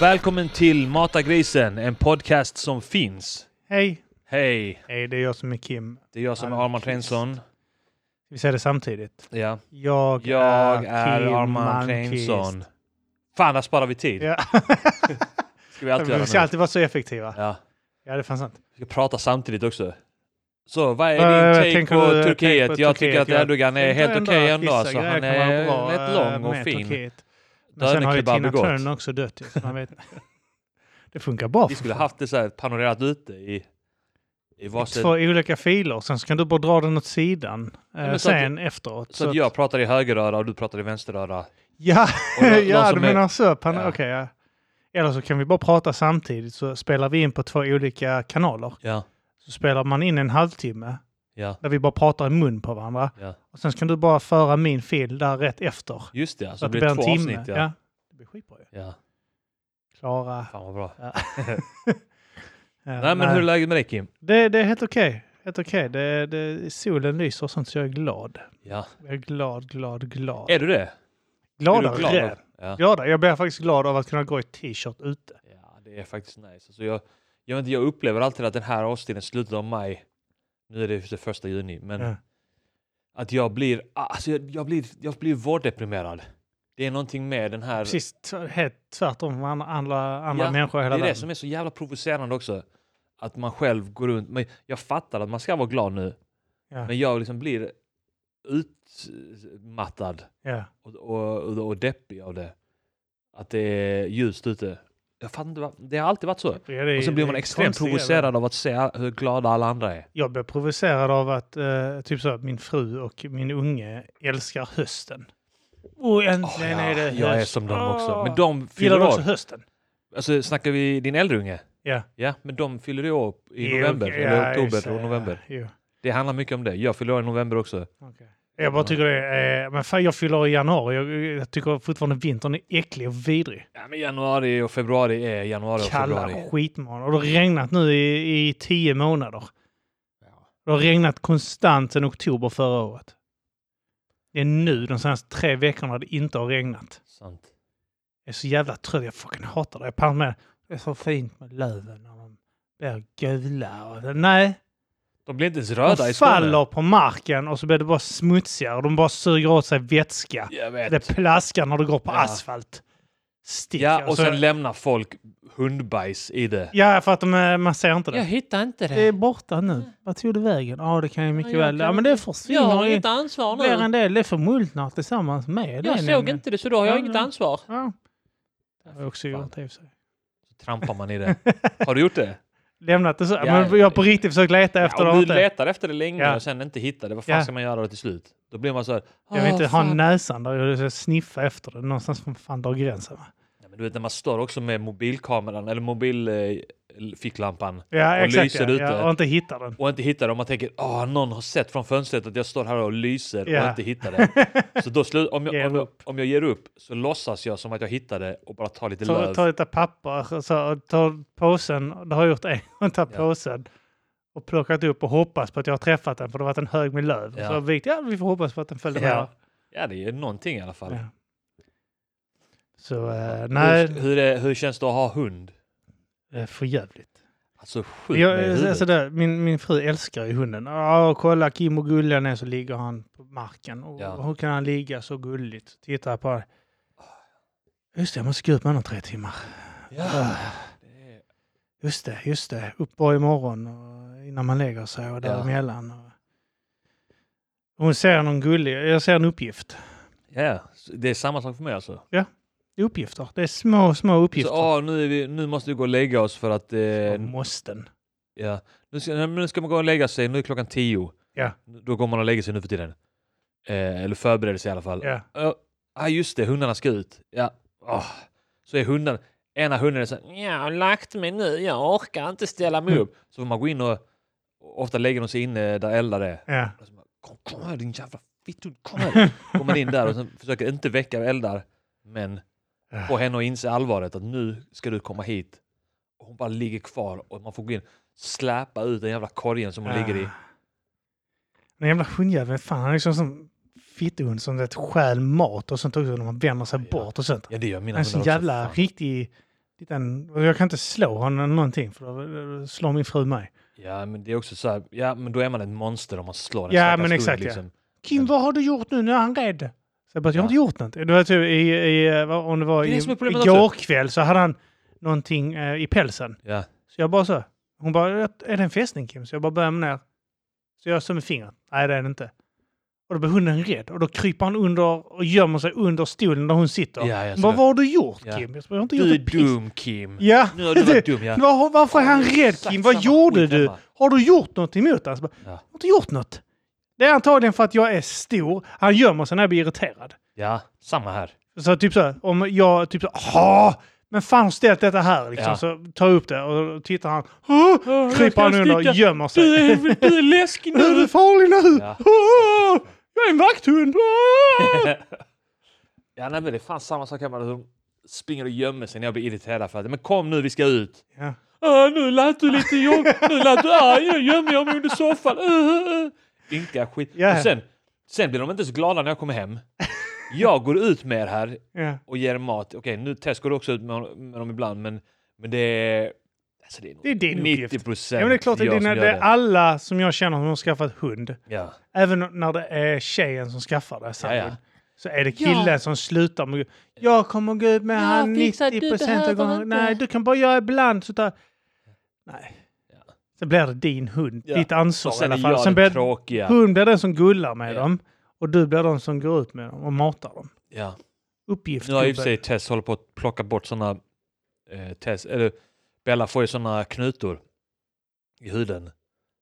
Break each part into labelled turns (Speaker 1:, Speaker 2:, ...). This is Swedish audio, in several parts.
Speaker 1: Välkommen till Mata grisen, en podcast som finns.
Speaker 2: Hej!
Speaker 1: Hej,
Speaker 2: Hej, det är jag som är Kim.
Speaker 1: det är jag som är
Speaker 2: Arman
Speaker 1: Arman Kleinsson.
Speaker 2: Vi säger det samtidigt.
Speaker 1: Ja.
Speaker 2: Jag,
Speaker 1: Jag är
Speaker 2: Kim
Speaker 1: Arman
Speaker 2: Malmqvist.
Speaker 1: Kleinsson. Fan, där sparar vi tid.
Speaker 2: Ja.
Speaker 1: Ska vi alltid
Speaker 2: vi ska
Speaker 1: göra nu.
Speaker 2: alltid vara så effektiva.
Speaker 1: Ja.
Speaker 2: Ja, det är fan sant.
Speaker 1: Vi ska prata samtidigt också. Så vad är
Speaker 2: Vad
Speaker 1: din take
Speaker 2: tänker
Speaker 1: på
Speaker 2: du- tänker
Speaker 1: Turkiet?
Speaker 2: på
Speaker 1: jag
Speaker 2: Turkiet?
Speaker 1: tycker att
Speaker 2: Jag
Speaker 1: Erdogan är
Speaker 2: Jag
Speaker 1: helt okej
Speaker 2: tror att
Speaker 1: ändå.
Speaker 2: vissa
Speaker 1: Alltså,
Speaker 2: grejer
Speaker 1: han
Speaker 2: kan vara
Speaker 1: är
Speaker 2: bra,
Speaker 1: rätt
Speaker 2: eh,
Speaker 1: lång och
Speaker 2: med
Speaker 1: fin.
Speaker 2: Turkiet. Men sen har ju
Speaker 1: Dönekebabb är
Speaker 2: Tina
Speaker 1: gott.
Speaker 2: Turner också dött. ju, så Man vet. Det funkar bra.
Speaker 1: Vi
Speaker 2: för
Speaker 1: skulle
Speaker 2: fan.
Speaker 1: haft det så här panorerat ute i, i varsin...
Speaker 2: Två olika filer, sen ska du bara dra den åt sidan eh,
Speaker 1: men så att-
Speaker 2: sen efteråt.
Speaker 1: Så att jag pratar i högeröra och du pratar i vänsteröra.
Speaker 2: Ja,
Speaker 1: Och de- de
Speaker 2: ja du
Speaker 1: som är-
Speaker 2: menar så. Pan-
Speaker 1: Ja.
Speaker 2: Okej, ja. Eller så kan vi bara prata samtidigt så spelar vi in på två olika kanaler.
Speaker 1: Ja,
Speaker 2: Så spelar man in en halvtimme
Speaker 1: ja,
Speaker 2: där vi bara pratar i mun på varandra.
Speaker 1: ja.
Speaker 2: Och sen kan du bara föra min fil där rätt efter. Så,
Speaker 1: Just det, så
Speaker 2: att
Speaker 1: det blir två avsnitt. Ja. Ja.
Speaker 2: Det blir skitbra ju.
Speaker 1: ja,
Speaker 2: Klara. eh,
Speaker 1: fan vad bra.
Speaker 2: Ja,
Speaker 1: Nej men hur är läget med dig Kim?
Speaker 2: det, det är helt okej. Helt okej. Det, det, solen lyser och sånt så jag är glad.
Speaker 1: Ja,
Speaker 2: Jag är glad, glad, glad.
Speaker 1: är du det?
Speaker 2: Gladare.
Speaker 1: är du glad? Ja.
Speaker 2: Gladare. Jag blir faktiskt glad av att kunna gå i t-shirt ute.
Speaker 1: ja, det är faktiskt nice. Alltså, jag, jag, vet inte, jag upplever alltid att den här årstiden, slutet av maj, nu är det det första juni, men
Speaker 2: Ja.
Speaker 1: att jag blir, alltså jag, jag blir, jag blir vårdeprimerad. Det är någonting med den här,
Speaker 2: Precis t- helt tvärtom från andra, andra, andra
Speaker 1: Ja,
Speaker 2: människor i
Speaker 1: det
Speaker 2: hela
Speaker 1: är det
Speaker 2: världen.
Speaker 1: som är så jävla provocerande också. Att man själv går runt, men jag fattar att man ska vara glad nu,
Speaker 2: Ja.
Speaker 1: men jag liksom blir utmattad
Speaker 2: Ja.
Speaker 1: och, och, och, och deppig av det. Att det är ljust ute. Jag fattar inte, vad- det har alltid varit så.
Speaker 2: Ja, det är-
Speaker 1: Och sen
Speaker 2: det
Speaker 1: blir
Speaker 2: är
Speaker 1: man extremt
Speaker 2: konstiga-
Speaker 1: provocerad av att se hur glada alla andra är.
Speaker 2: Jag blir provocerad av att eh, typ så att min fru och min unge älskar hösten. Och
Speaker 1: Åh,
Speaker 2: äntligen
Speaker 1: ja,
Speaker 2: är det höst.
Speaker 1: jag är som dem också.
Speaker 2: Åh.
Speaker 1: Men de
Speaker 2: Gillar du
Speaker 1: fyller
Speaker 2: också
Speaker 1: år.
Speaker 2: hösten?
Speaker 1: Alltså, snackar vi din äldre unge?
Speaker 2: Ja.
Speaker 1: Ja, men de fyller ju år i
Speaker 2: Jo,
Speaker 1: november.
Speaker 2: ja,
Speaker 1: eller oktober
Speaker 2: just det,
Speaker 1: och november.
Speaker 2: Ja, jo.
Speaker 1: Det handlar mycket om det. Jag fyller år i november också.
Speaker 2: Okej. Jag bara tycker det är... eh, Men fan, jag fyller år i januari. Jag, jag tycker fortfarande vintern är äcklig och vidrig.
Speaker 1: Ja, men januari och februari är januari och februari.
Speaker 2: Kalla skitmånader. Och det har regnat nu i, i tio månader. Det har regnat konstant sedan oktober förra året. Det är nu de senaste tre veckorna det inte har regnat.
Speaker 1: Sant.
Speaker 2: Jag är så jävla trött. Jag fucking hatar det. Jag pallar med det. är så fint med löven när de blir gula. Och, nej,
Speaker 1: De blir inte ens
Speaker 2: de
Speaker 1: röda i Skåne.
Speaker 2: faller på marken och så blir det bara smutsigare. De bara suger åt sig vätska.
Speaker 1: Jag vet.
Speaker 2: Det plaskar när du går på
Speaker 1: Ja.
Speaker 2: asfalt. Stick.
Speaker 1: Ja, och
Speaker 2: Alltså,
Speaker 1: sen lämnar folk hundbajs i det.
Speaker 2: ja, för att de, eh, man ser inte det.
Speaker 1: hittar inte
Speaker 2: Det är borta nu. Vad tog det vägen? Ja, det kan jag mycket
Speaker 1: Ja, jag
Speaker 2: väl... Ja,
Speaker 1: kan-
Speaker 2: men det försvinner. i-
Speaker 1: ansvar
Speaker 2: Det blir en del. Det förmultnar tillsammans med det nämligen.
Speaker 1: det, så då har
Speaker 2: jag inget
Speaker 1: ansvar.
Speaker 2: Ja. Det har jag också gjort i och för sig.
Speaker 1: Så trampar man i det. Har du gjort det?
Speaker 2: Lämnat det så.
Speaker 1: Ja,
Speaker 2: men jag har på riktigt försökt leta efter
Speaker 1: ja,
Speaker 2: det.
Speaker 1: om du
Speaker 2: inte.
Speaker 1: letar efter det länge
Speaker 2: Ja.
Speaker 1: och sen inte hittar det, vad fan
Speaker 2: Ja.
Speaker 1: ska man göra då till slut? Då blir man så här...
Speaker 2: Jag vill inte
Speaker 1: "Ah,
Speaker 2: ha
Speaker 1: fan."
Speaker 2: näsan där. Jag vill sniffa efter det. Någonstans får man fan dra gränsen. va?
Speaker 1: Nej, men du vet när man står också med mobilkameran eller eh, mobilficklampan
Speaker 2: Ja,
Speaker 1: Och
Speaker 2: exakt.
Speaker 1: lyser
Speaker 2: Ja.
Speaker 1: ute.
Speaker 2: Ja, och inte hitta den.
Speaker 1: och inte hittar det och man tänker ah någon har sett från fönstret att jag står här och lyser och
Speaker 2: Ja.
Speaker 1: inte hittar det. Så då slut, om,
Speaker 2: Ger
Speaker 1: jag, om, jag,
Speaker 2: upp.
Speaker 1: om jag ger upp så låtsas jag som att jag hittar det och bara tar lite
Speaker 2: Ta,
Speaker 1: löv.
Speaker 2: ta lite papper. och Så, och ta påsen. Det har jag gjort en gång. Ta
Speaker 1: Ja.
Speaker 2: påsen och plockat upp och hoppas på att jag har träffat den för det har varit en hög med löv.
Speaker 1: Ja.
Speaker 2: Så vikt, ja, vi får hoppas på att den följde med.
Speaker 1: Ja. ja, det är någonting i alla fall.
Speaker 2: Ja. Så eh, nej,
Speaker 1: Hur, hur, är, hur känns det att ha hund?
Speaker 2: det är för jävligt.
Speaker 1: Alltså sjukt med
Speaker 2: Jag,
Speaker 1: huvudet.
Speaker 2: alltså där, min, min fru älskar ju hunden. Ja, kolla Kim och Gullian är så ligger han på marken. Och
Speaker 1: Ja.
Speaker 2: Hur kan han ligga så gulligt? Titta här på honom. Just det, jag måste gå ut med honom tre timmar.
Speaker 1: ja. det är-
Speaker 2: Just det, just det. Upp bara imorgon och innan man lägger sig och däremellan. Och hon ser någon gullig, jag ser en uppgift.
Speaker 1: Ja, så det är samma sak för mig alltså.
Speaker 2: Uppgifter, det är små, små uppgifter.
Speaker 1: Så, ah, nu, är vi, nu måste vi gå och lägga oss för att... Eh,
Speaker 2: Och måsten.
Speaker 1: ja. nu, ska, nej, men nu ska man gå och lägga sig, nu är klockan tio.
Speaker 2: Ja.
Speaker 1: Då går man och lägger sig nu för tiden. Eh, eller förbereder sig i alla fall.
Speaker 2: Ja.
Speaker 1: Ja, ah, just det, hundarna ska ut. Ja. Ah. Så är hunden, ena hunden är så här, jag har lagt mig nu, jag orkar inte ställa mig upp. Så får man gå in och, och ofta lägger de sig inne där eldar är.
Speaker 2: Ja.
Speaker 1: Och så bara, Kom, kom här din jävla fitthund, kom här. Kommer man in där och sen försöker inte väcka eldar, men
Speaker 2: Ah.
Speaker 1: få henne att inse allvaret att nu ska du komma hit. Och hon bara ligger kvar och man får gå in släpa ut den jävla korgen som hon ligger
Speaker 2: Ah.
Speaker 1: i.
Speaker 2: Den jävla hundjäveln, fan han är liksom som fitthund som det stjäl mat och sånt också när man vänder sig
Speaker 1: Ja.
Speaker 2: bort och sånt.
Speaker 1: Ja det gör mina
Speaker 2: Han
Speaker 1: hundar
Speaker 2: är så
Speaker 1: också.
Speaker 2: jävla
Speaker 1: fan.
Speaker 2: riktig... Titta, jag kan inte slå honom eller någonting för då eh, slår min fru mig.
Speaker 1: Ja, men det är också så här, ja, men då är man ett monster om man slår en
Speaker 2: Ja,
Speaker 1: stackars
Speaker 2: men
Speaker 1: hund,
Speaker 2: exakt, ja.
Speaker 1: liksom.
Speaker 2: Kim, vad har du gjort nu? Nu är han rädd. Så jag bara, jag har
Speaker 1: Ja.
Speaker 2: inte gjort något. Det var typ i, i, eh, vad- om det var
Speaker 1: Det är
Speaker 2: i,
Speaker 1: det som är problemet
Speaker 2: igår
Speaker 1: också.
Speaker 2: kväll så hade han någonting eh, i pälsen.
Speaker 1: Ja.
Speaker 2: Så jag bara så. Hon bara, är det en fästning Kim? Så jag bara böjer mig ner. Så jag som med fingret. Nej, det är det inte. Och då blir hunden rädd och då kryper han under och gömmer sig under stolen där hon sitter.
Speaker 1: Ja, jag
Speaker 2: Hon bara,
Speaker 1: ser.
Speaker 2: vad har du gjort
Speaker 1: Ja.
Speaker 2: Kim? Jag bara, jag har inte
Speaker 1: Du är
Speaker 2: gjort ett piss.
Speaker 1: dum Kim.
Speaker 2: Ja,
Speaker 1: Nu har du varit dum ja.
Speaker 2: Var, varför är han rädd
Speaker 1: Exakt
Speaker 2: Kim? Vad
Speaker 1: samma
Speaker 2: gjorde
Speaker 1: skit
Speaker 2: du?
Speaker 1: hemma.
Speaker 2: Har du gjort något emot honom?
Speaker 1: Ja.
Speaker 2: Alltså, Jag har inte gjort något. Det är antagligen för att jag är stor. Han gömmer sig när jag blir irriterad.
Speaker 1: Ja, samma här.
Speaker 2: Så typ så här, om jag typ så här, men fan har ställt detta här liksom.
Speaker 1: Ja.
Speaker 2: Så tar jag upp det och tittar han, "Åh!"
Speaker 1: jag
Speaker 2: kryper
Speaker 1: ska
Speaker 2: han under och
Speaker 1: sticka.
Speaker 2: gömmer sig.
Speaker 1: du är läskig
Speaker 2: Är du farlig nu?
Speaker 1: Ja.
Speaker 2: Åh, Jag är en vakthund! Åh!
Speaker 1: ja, nej, men det är fan samma sak hemma. De springer och gömmer sig när jag blir irriterad för att men kom nu, vi ska ut.
Speaker 2: Ja.
Speaker 1: Äh, nu lät du lite jobb. nu lät du arg, nu gömmer jag mig under soffan. Äh, äh. Ynka skit.
Speaker 2: Ja.
Speaker 1: Och sen, sen blir de inte så glada när jag kommer hem. Jag går ut med er här
Speaker 2: Ja.
Speaker 1: och ger er mat. Okej, nu Tess går också ut med, hon- med dem ibland, men, men det är... Alltså det är, nog
Speaker 2: Det är din uppgift.
Speaker 1: 90 procent
Speaker 2: Ja, men det är klart, det är,
Speaker 1: jag
Speaker 2: dina,
Speaker 1: som
Speaker 2: det
Speaker 1: gör
Speaker 2: är alla som jag känner som har skaffat hund.
Speaker 1: Ja.
Speaker 2: Även när det är tjejen som skaffar det, sambon,
Speaker 1: Ja, ja.
Speaker 2: så är det killen som slutar med Jag kommer gå ut med han 90 procent av gången. Nej, du kan bara göra ibland. Så tar... Nej.
Speaker 1: Ja.
Speaker 2: Sen blir det din hund,
Speaker 1: Ja.
Speaker 2: ditt ansvar
Speaker 1: Och sen
Speaker 2: i
Speaker 1: är
Speaker 2: alla fall.
Speaker 1: jag
Speaker 2: Sen
Speaker 1: den
Speaker 2: blir
Speaker 1: tråkiga.
Speaker 2: hund blir den som gullar med
Speaker 1: Ja.
Speaker 2: dem och du blir den som går ut med dem och matar dem.
Speaker 1: Ja.
Speaker 2: Uppgift.
Speaker 1: Nu har ju i och för
Speaker 2: gubbe.
Speaker 1: sig Tess håller på att plocka bort såna... Eh, Tess, eller Bella får ju såna knutor i huden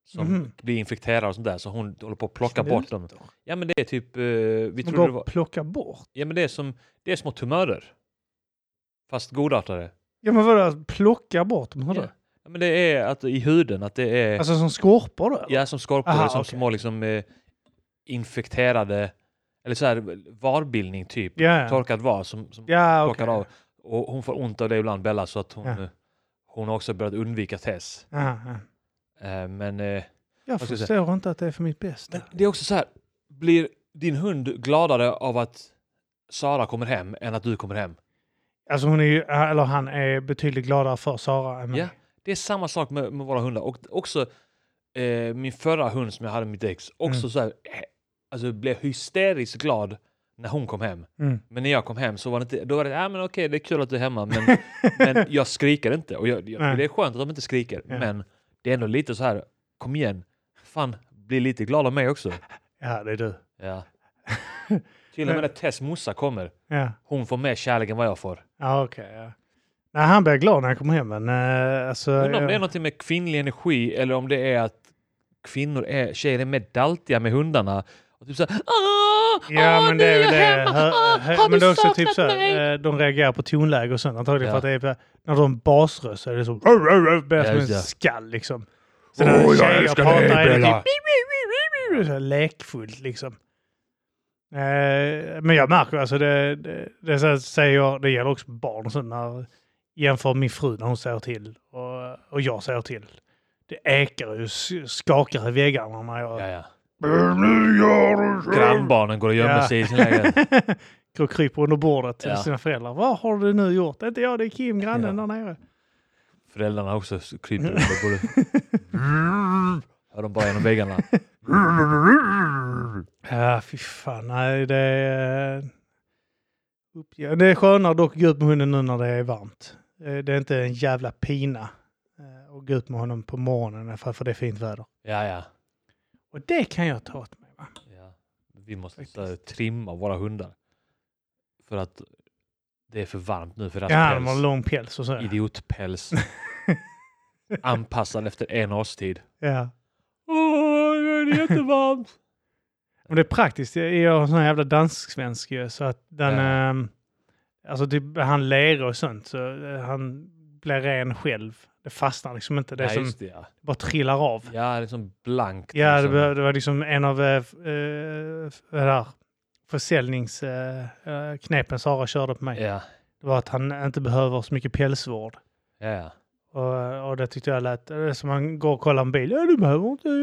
Speaker 1: som
Speaker 2: Mhm.
Speaker 1: blir infekterade och sånt där, så hon håller på att plocka
Speaker 2: Knutor.
Speaker 1: bort dem. Ja men det är typ... Eh, vi
Speaker 2: De
Speaker 1: trodde
Speaker 2: går
Speaker 1: det
Speaker 2: och
Speaker 1: var...
Speaker 2: plockar bort.
Speaker 1: Ja men det är som... Det är små tumörer. Fast godartade.
Speaker 2: Ja men vadå, plocka bort dem? Hur
Speaker 1: Ja.
Speaker 2: då?
Speaker 1: Ja, men det är att i huden, att det är...
Speaker 2: Alltså som skorpor då? eller?
Speaker 1: ja, som skorpor,
Speaker 2: Aha,
Speaker 1: som
Speaker 2: okej.
Speaker 1: små liksom eh, infekterade... Eller så här varbildning typ.
Speaker 2: Ja, ja.
Speaker 1: Torkad var som, som
Speaker 2: ja
Speaker 1: plockar
Speaker 2: okej.
Speaker 1: av. Och hon får ont av det ibland, Bella, så att hon,
Speaker 2: Ja.
Speaker 1: eh, hon har också börjat undvika Tess.
Speaker 2: Ja, ja.
Speaker 1: Eh, Men, eh,
Speaker 2: Jag
Speaker 1: ska jag
Speaker 2: förstår inte att det är för mitt bästa.
Speaker 1: men det är också så här, blir din hund gladare av att Sara kommer hem än att du kommer hem?
Speaker 2: Alltså hon är ju, eller han är betydligt gladare för Sara än mig.
Speaker 1: Ja. Det är samma sak med, med våra hundar. Och också eh, min förra hund som jag hade med mitt ex, också
Speaker 2: Mm.
Speaker 1: så här, eh, alltså blev hysteriskt glad när hon kom hem.
Speaker 2: Mm.
Speaker 1: Men när jag kom hem så var det inte, då var det, ja men okej det är kul att du är hemma men, men jag skriker inte. Och jag, jag tycker
Speaker 2: Nej.
Speaker 1: det är skönt att de inte skriker.
Speaker 2: Ja.
Speaker 1: Men det är ändå lite så här, kom igen, fan bli lite glad av mig också.
Speaker 2: Ja, det är du.
Speaker 1: Ja. Till och med när Tess morsa kommer,
Speaker 2: Ja,
Speaker 1: hon får mer kärlek än vad jag får.
Speaker 2: ja okej. ja. Nej, han blir glad när han kommer hem, men eh, alltså...
Speaker 1: Undrar om det är
Speaker 2: jag-
Speaker 1: någonting med kvinnlig energi eller om det är att kvinnor är, tjejer är mer daltiga med hundarna. Och typ så här, "Åh,
Speaker 2: Ja,
Speaker 1: åh,
Speaker 2: men
Speaker 1: nu
Speaker 2: det
Speaker 1: jag
Speaker 2: är väl det.
Speaker 1: hemma,
Speaker 2: Hö-
Speaker 1: åh,
Speaker 2: hö-
Speaker 1: har
Speaker 2: Men
Speaker 1: du
Speaker 2: det är också
Speaker 1: saknat
Speaker 2: typ så
Speaker 1: mig?"
Speaker 2: här, eh, de reagerar på tonläge och sånt antagligen
Speaker 1: Ja.
Speaker 2: för att det är, när de basröst så är det så... Rör, rör, rör, blir
Speaker 1: Ja,
Speaker 2: som en
Speaker 1: just det.
Speaker 2: skall liksom. Så när tjejer pratar är det typ... så här lekfullt liksom. Eh, men jag märker alltså det, det, det så här säger jag, det gäller också barn och sånt när jämför min fru när hon säger till och, och jag säger till. Det ekar ju, s- skakar i väggarna när jag
Speaker 1: Ja, ja.
Speaker 2: "Nu gör du så."
Speaker 1: Grannbarnen går och gömmer
Speaker 2: Ja.
Speaker 1: sig i sin lägenhet.
Speaker 2: Går och kryper under bordet till
Speaker 1: Ja.
Speaker 2: sina föräldrar. Vad har du nu gjort? Det är inte jag, det är Kim, grannen
Speaker 1: Ja.
Speaker 2: där nere.
Speaker 1: Föräldrarna också s- kryper under bordet. Hör de bara genom väggarna.
Speaker 2: Ja, fy fan. Nej, det är... Upp- ja, Det är skönare dock att gå ut med hunden nu när det är varmt. Eh, Det är inte en jävla pina eh, att gå ut med honom på morgonen i alla fall, för det är fint väder.
Speaker 1: Ja, ja.
Speaker 2: Och det kan jag ta åt mig. Va?
Speaker 1: ja. Vi måste
Speaker 2: Faktiskt.
Speaker 1: så här, trimma våra hundar. För att det är för varmt nu för deras
Speaker 2: Ja, de har
Speaker 1: Alltså, päls.
Speaker 2: lång päls och så. ja.
Speaker 1: Idiotpäls. Anpassad efter en årstid.
Speaker 2: Ja.
Speaker 1: Åh, nu är det jättevarmt.
Speaker 2: Men det är praktiskt. Jag är en sån här jävla dansk-svensk ju, så att den...
Speaker 1: Ja.
Speaker 2: ehm, alltså typ han ler och sånt, så eh, han blir ren själv. Det fastnar liksom inte. Det är
Speaker 1: ja,
Speaker 2: som
Speaker 1: just det. Ja,
Speaker 2: bara trillar av.
Speaker 1: ja det är liksom blankt.
Speaker 2: Ja, det
Speaker 1: liksom.
Speaker 2: var, det var liksom en av eh, f- eh, f- det där försäljningsknepen eh, Sara körde på mig.
Speaker 1: Ja,
Speaker 2: Det var att han inte behöver så mycket pälsvård.
Speaker 1: ja, ja.
Speaker 2: Och, och det tyckte jag lät det är som man går och kollar en bil. Ja, du behöver inte...
Speaker 1: Ja.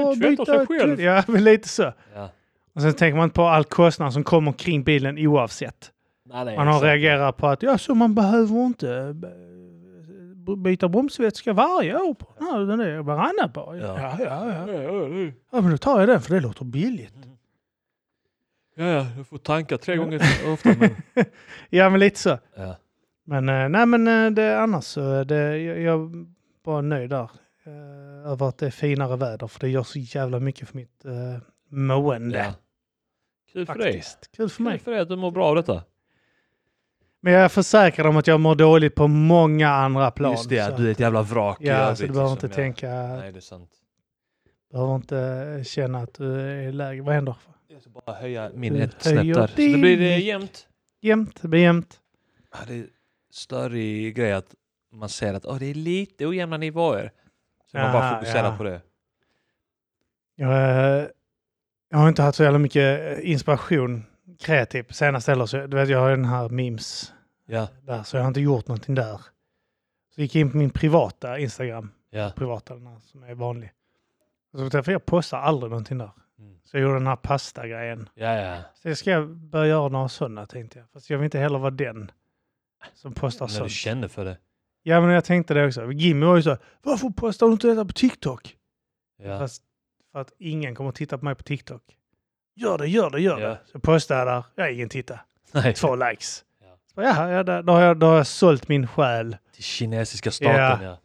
Speaker 2: Ja,
Speaker 1: Den tvättar sig själv.
Speaker 2: Ja, men lite så.
Speaker 1: ja.
Speaker 2: Och sen tänker man inte på all kostnad som kommer kring bilen oavsett.
Speaker 1: Nej, nej,
Speaker 2: Man har
Speaker 1: exakt.
Speaker 2: reagerat på att ja, så man behöver inte eh, b- byta bromsvätska varje år på den här, den är varannan bara.
Speaker 1: Ja.
Speaker 2: Ja, ja, ja.
Speaker 1: Ja, ja, det-
Speaker 2: Ja, men då tar jag den för det låter billigt.
Speaker 1: Mm. ja, ja, jag får tanka tre gånger oftare. Men...
Speaker 2: Ja, men lite så.
Speaker 1: Ja.
Speaker 2: Men eh, nej, men eh, det, annars så, det, jag, jag var nöjd där. eh, Över att det är finare väder, för det gör så jävla mycket för mitt eh, mående.
Speaker 1: Ja. Kul för dig.
Speaker 2: Faktiskt. Kul för
Speaker 1: Kul
Speaker 2: mig.
Speaker 1: för dig att du mår bra av detta.
Speaker 2: Men jag försäkrar dem att jag mår dåligt på många andra plan.
Speaker 1: Just det,
Speaker 2: så.
Speaker 1: du är ett jävla vrak i
Speaker 2: Ja,
Speaker 1: övrigt,
Speaker 2: så du behöver inte
Speaker 1: liksom, ja.
Speaker 2: tänka,
Speaker 1: Nej, det är sant.
Speaker 2: behöver inte eh, känna att du är lägre. Vad händer?
Speaker 1: Jag ska bara höja min
Speaker 2: Du
Speaker 1: ett snäpp
Speaker 2: höjer
Speaker 1: där. Så det
Speaker 2: din
Speaker 1: blir eh,
Speaker 2: mick.
Speaker 1: jämnt.
Speaker 2: Jämnt, det blir jämnt.
Speaker 1: Ja, det är större grej att man ser att "Åh, det är lite ojämna nivåer. Så man bara
Speaker 2: Aha,
Speaker 1: fokuserar
Speaker 2: ja.
Speaker 1: på det.
Speaker 2: Jag, eh, jag har inte haft så jävla mycket eh, inspiration kreativ på senaste heller. så Du vet, jag har ju den här memes
Speaker 1: Ja,
Speaker 2: där, så jag har inte gjort någonting där. Så gick jag in på min privata Instagram,
Speaker 1: ja.
Speaker 2: privata den här som är vanlig. Och Så träffade jag postar aldrig någonting där.
Speaker 1: Mm.
Speaker 2: Så jag gjorde den här pasta-grejen.
Speaker 1: Ja, ja.
Speaker 2: Så jag ska börja göra några sådana tänkte jag. Fast jag vill inte heller vara den som postar
Speaker 1: När du
Speaker 2: sånt.
Speaker 1: känner för det.
Speaker 2: Ja men jag tänkte det också. Jimmy var ju så här, varför postar du inte detta på TikTok?
Speaker 1: Ja.
Speaker 2: Fast för att ingen kommer att titta på mig på TikTok. Gör det, gör det, gör
Speaker 1: Ja.
Speaker 2: det. Så postar jag där, ja ingen tittar.
Speaker 1: Nej.
Speaker 2: Två likes.
Speaker 1: Ja.
Speaker 2: Så, ja, ja där, då, har jag, då har jag sålt min själ.
Speaker 1: Till kinesiska staten, ja.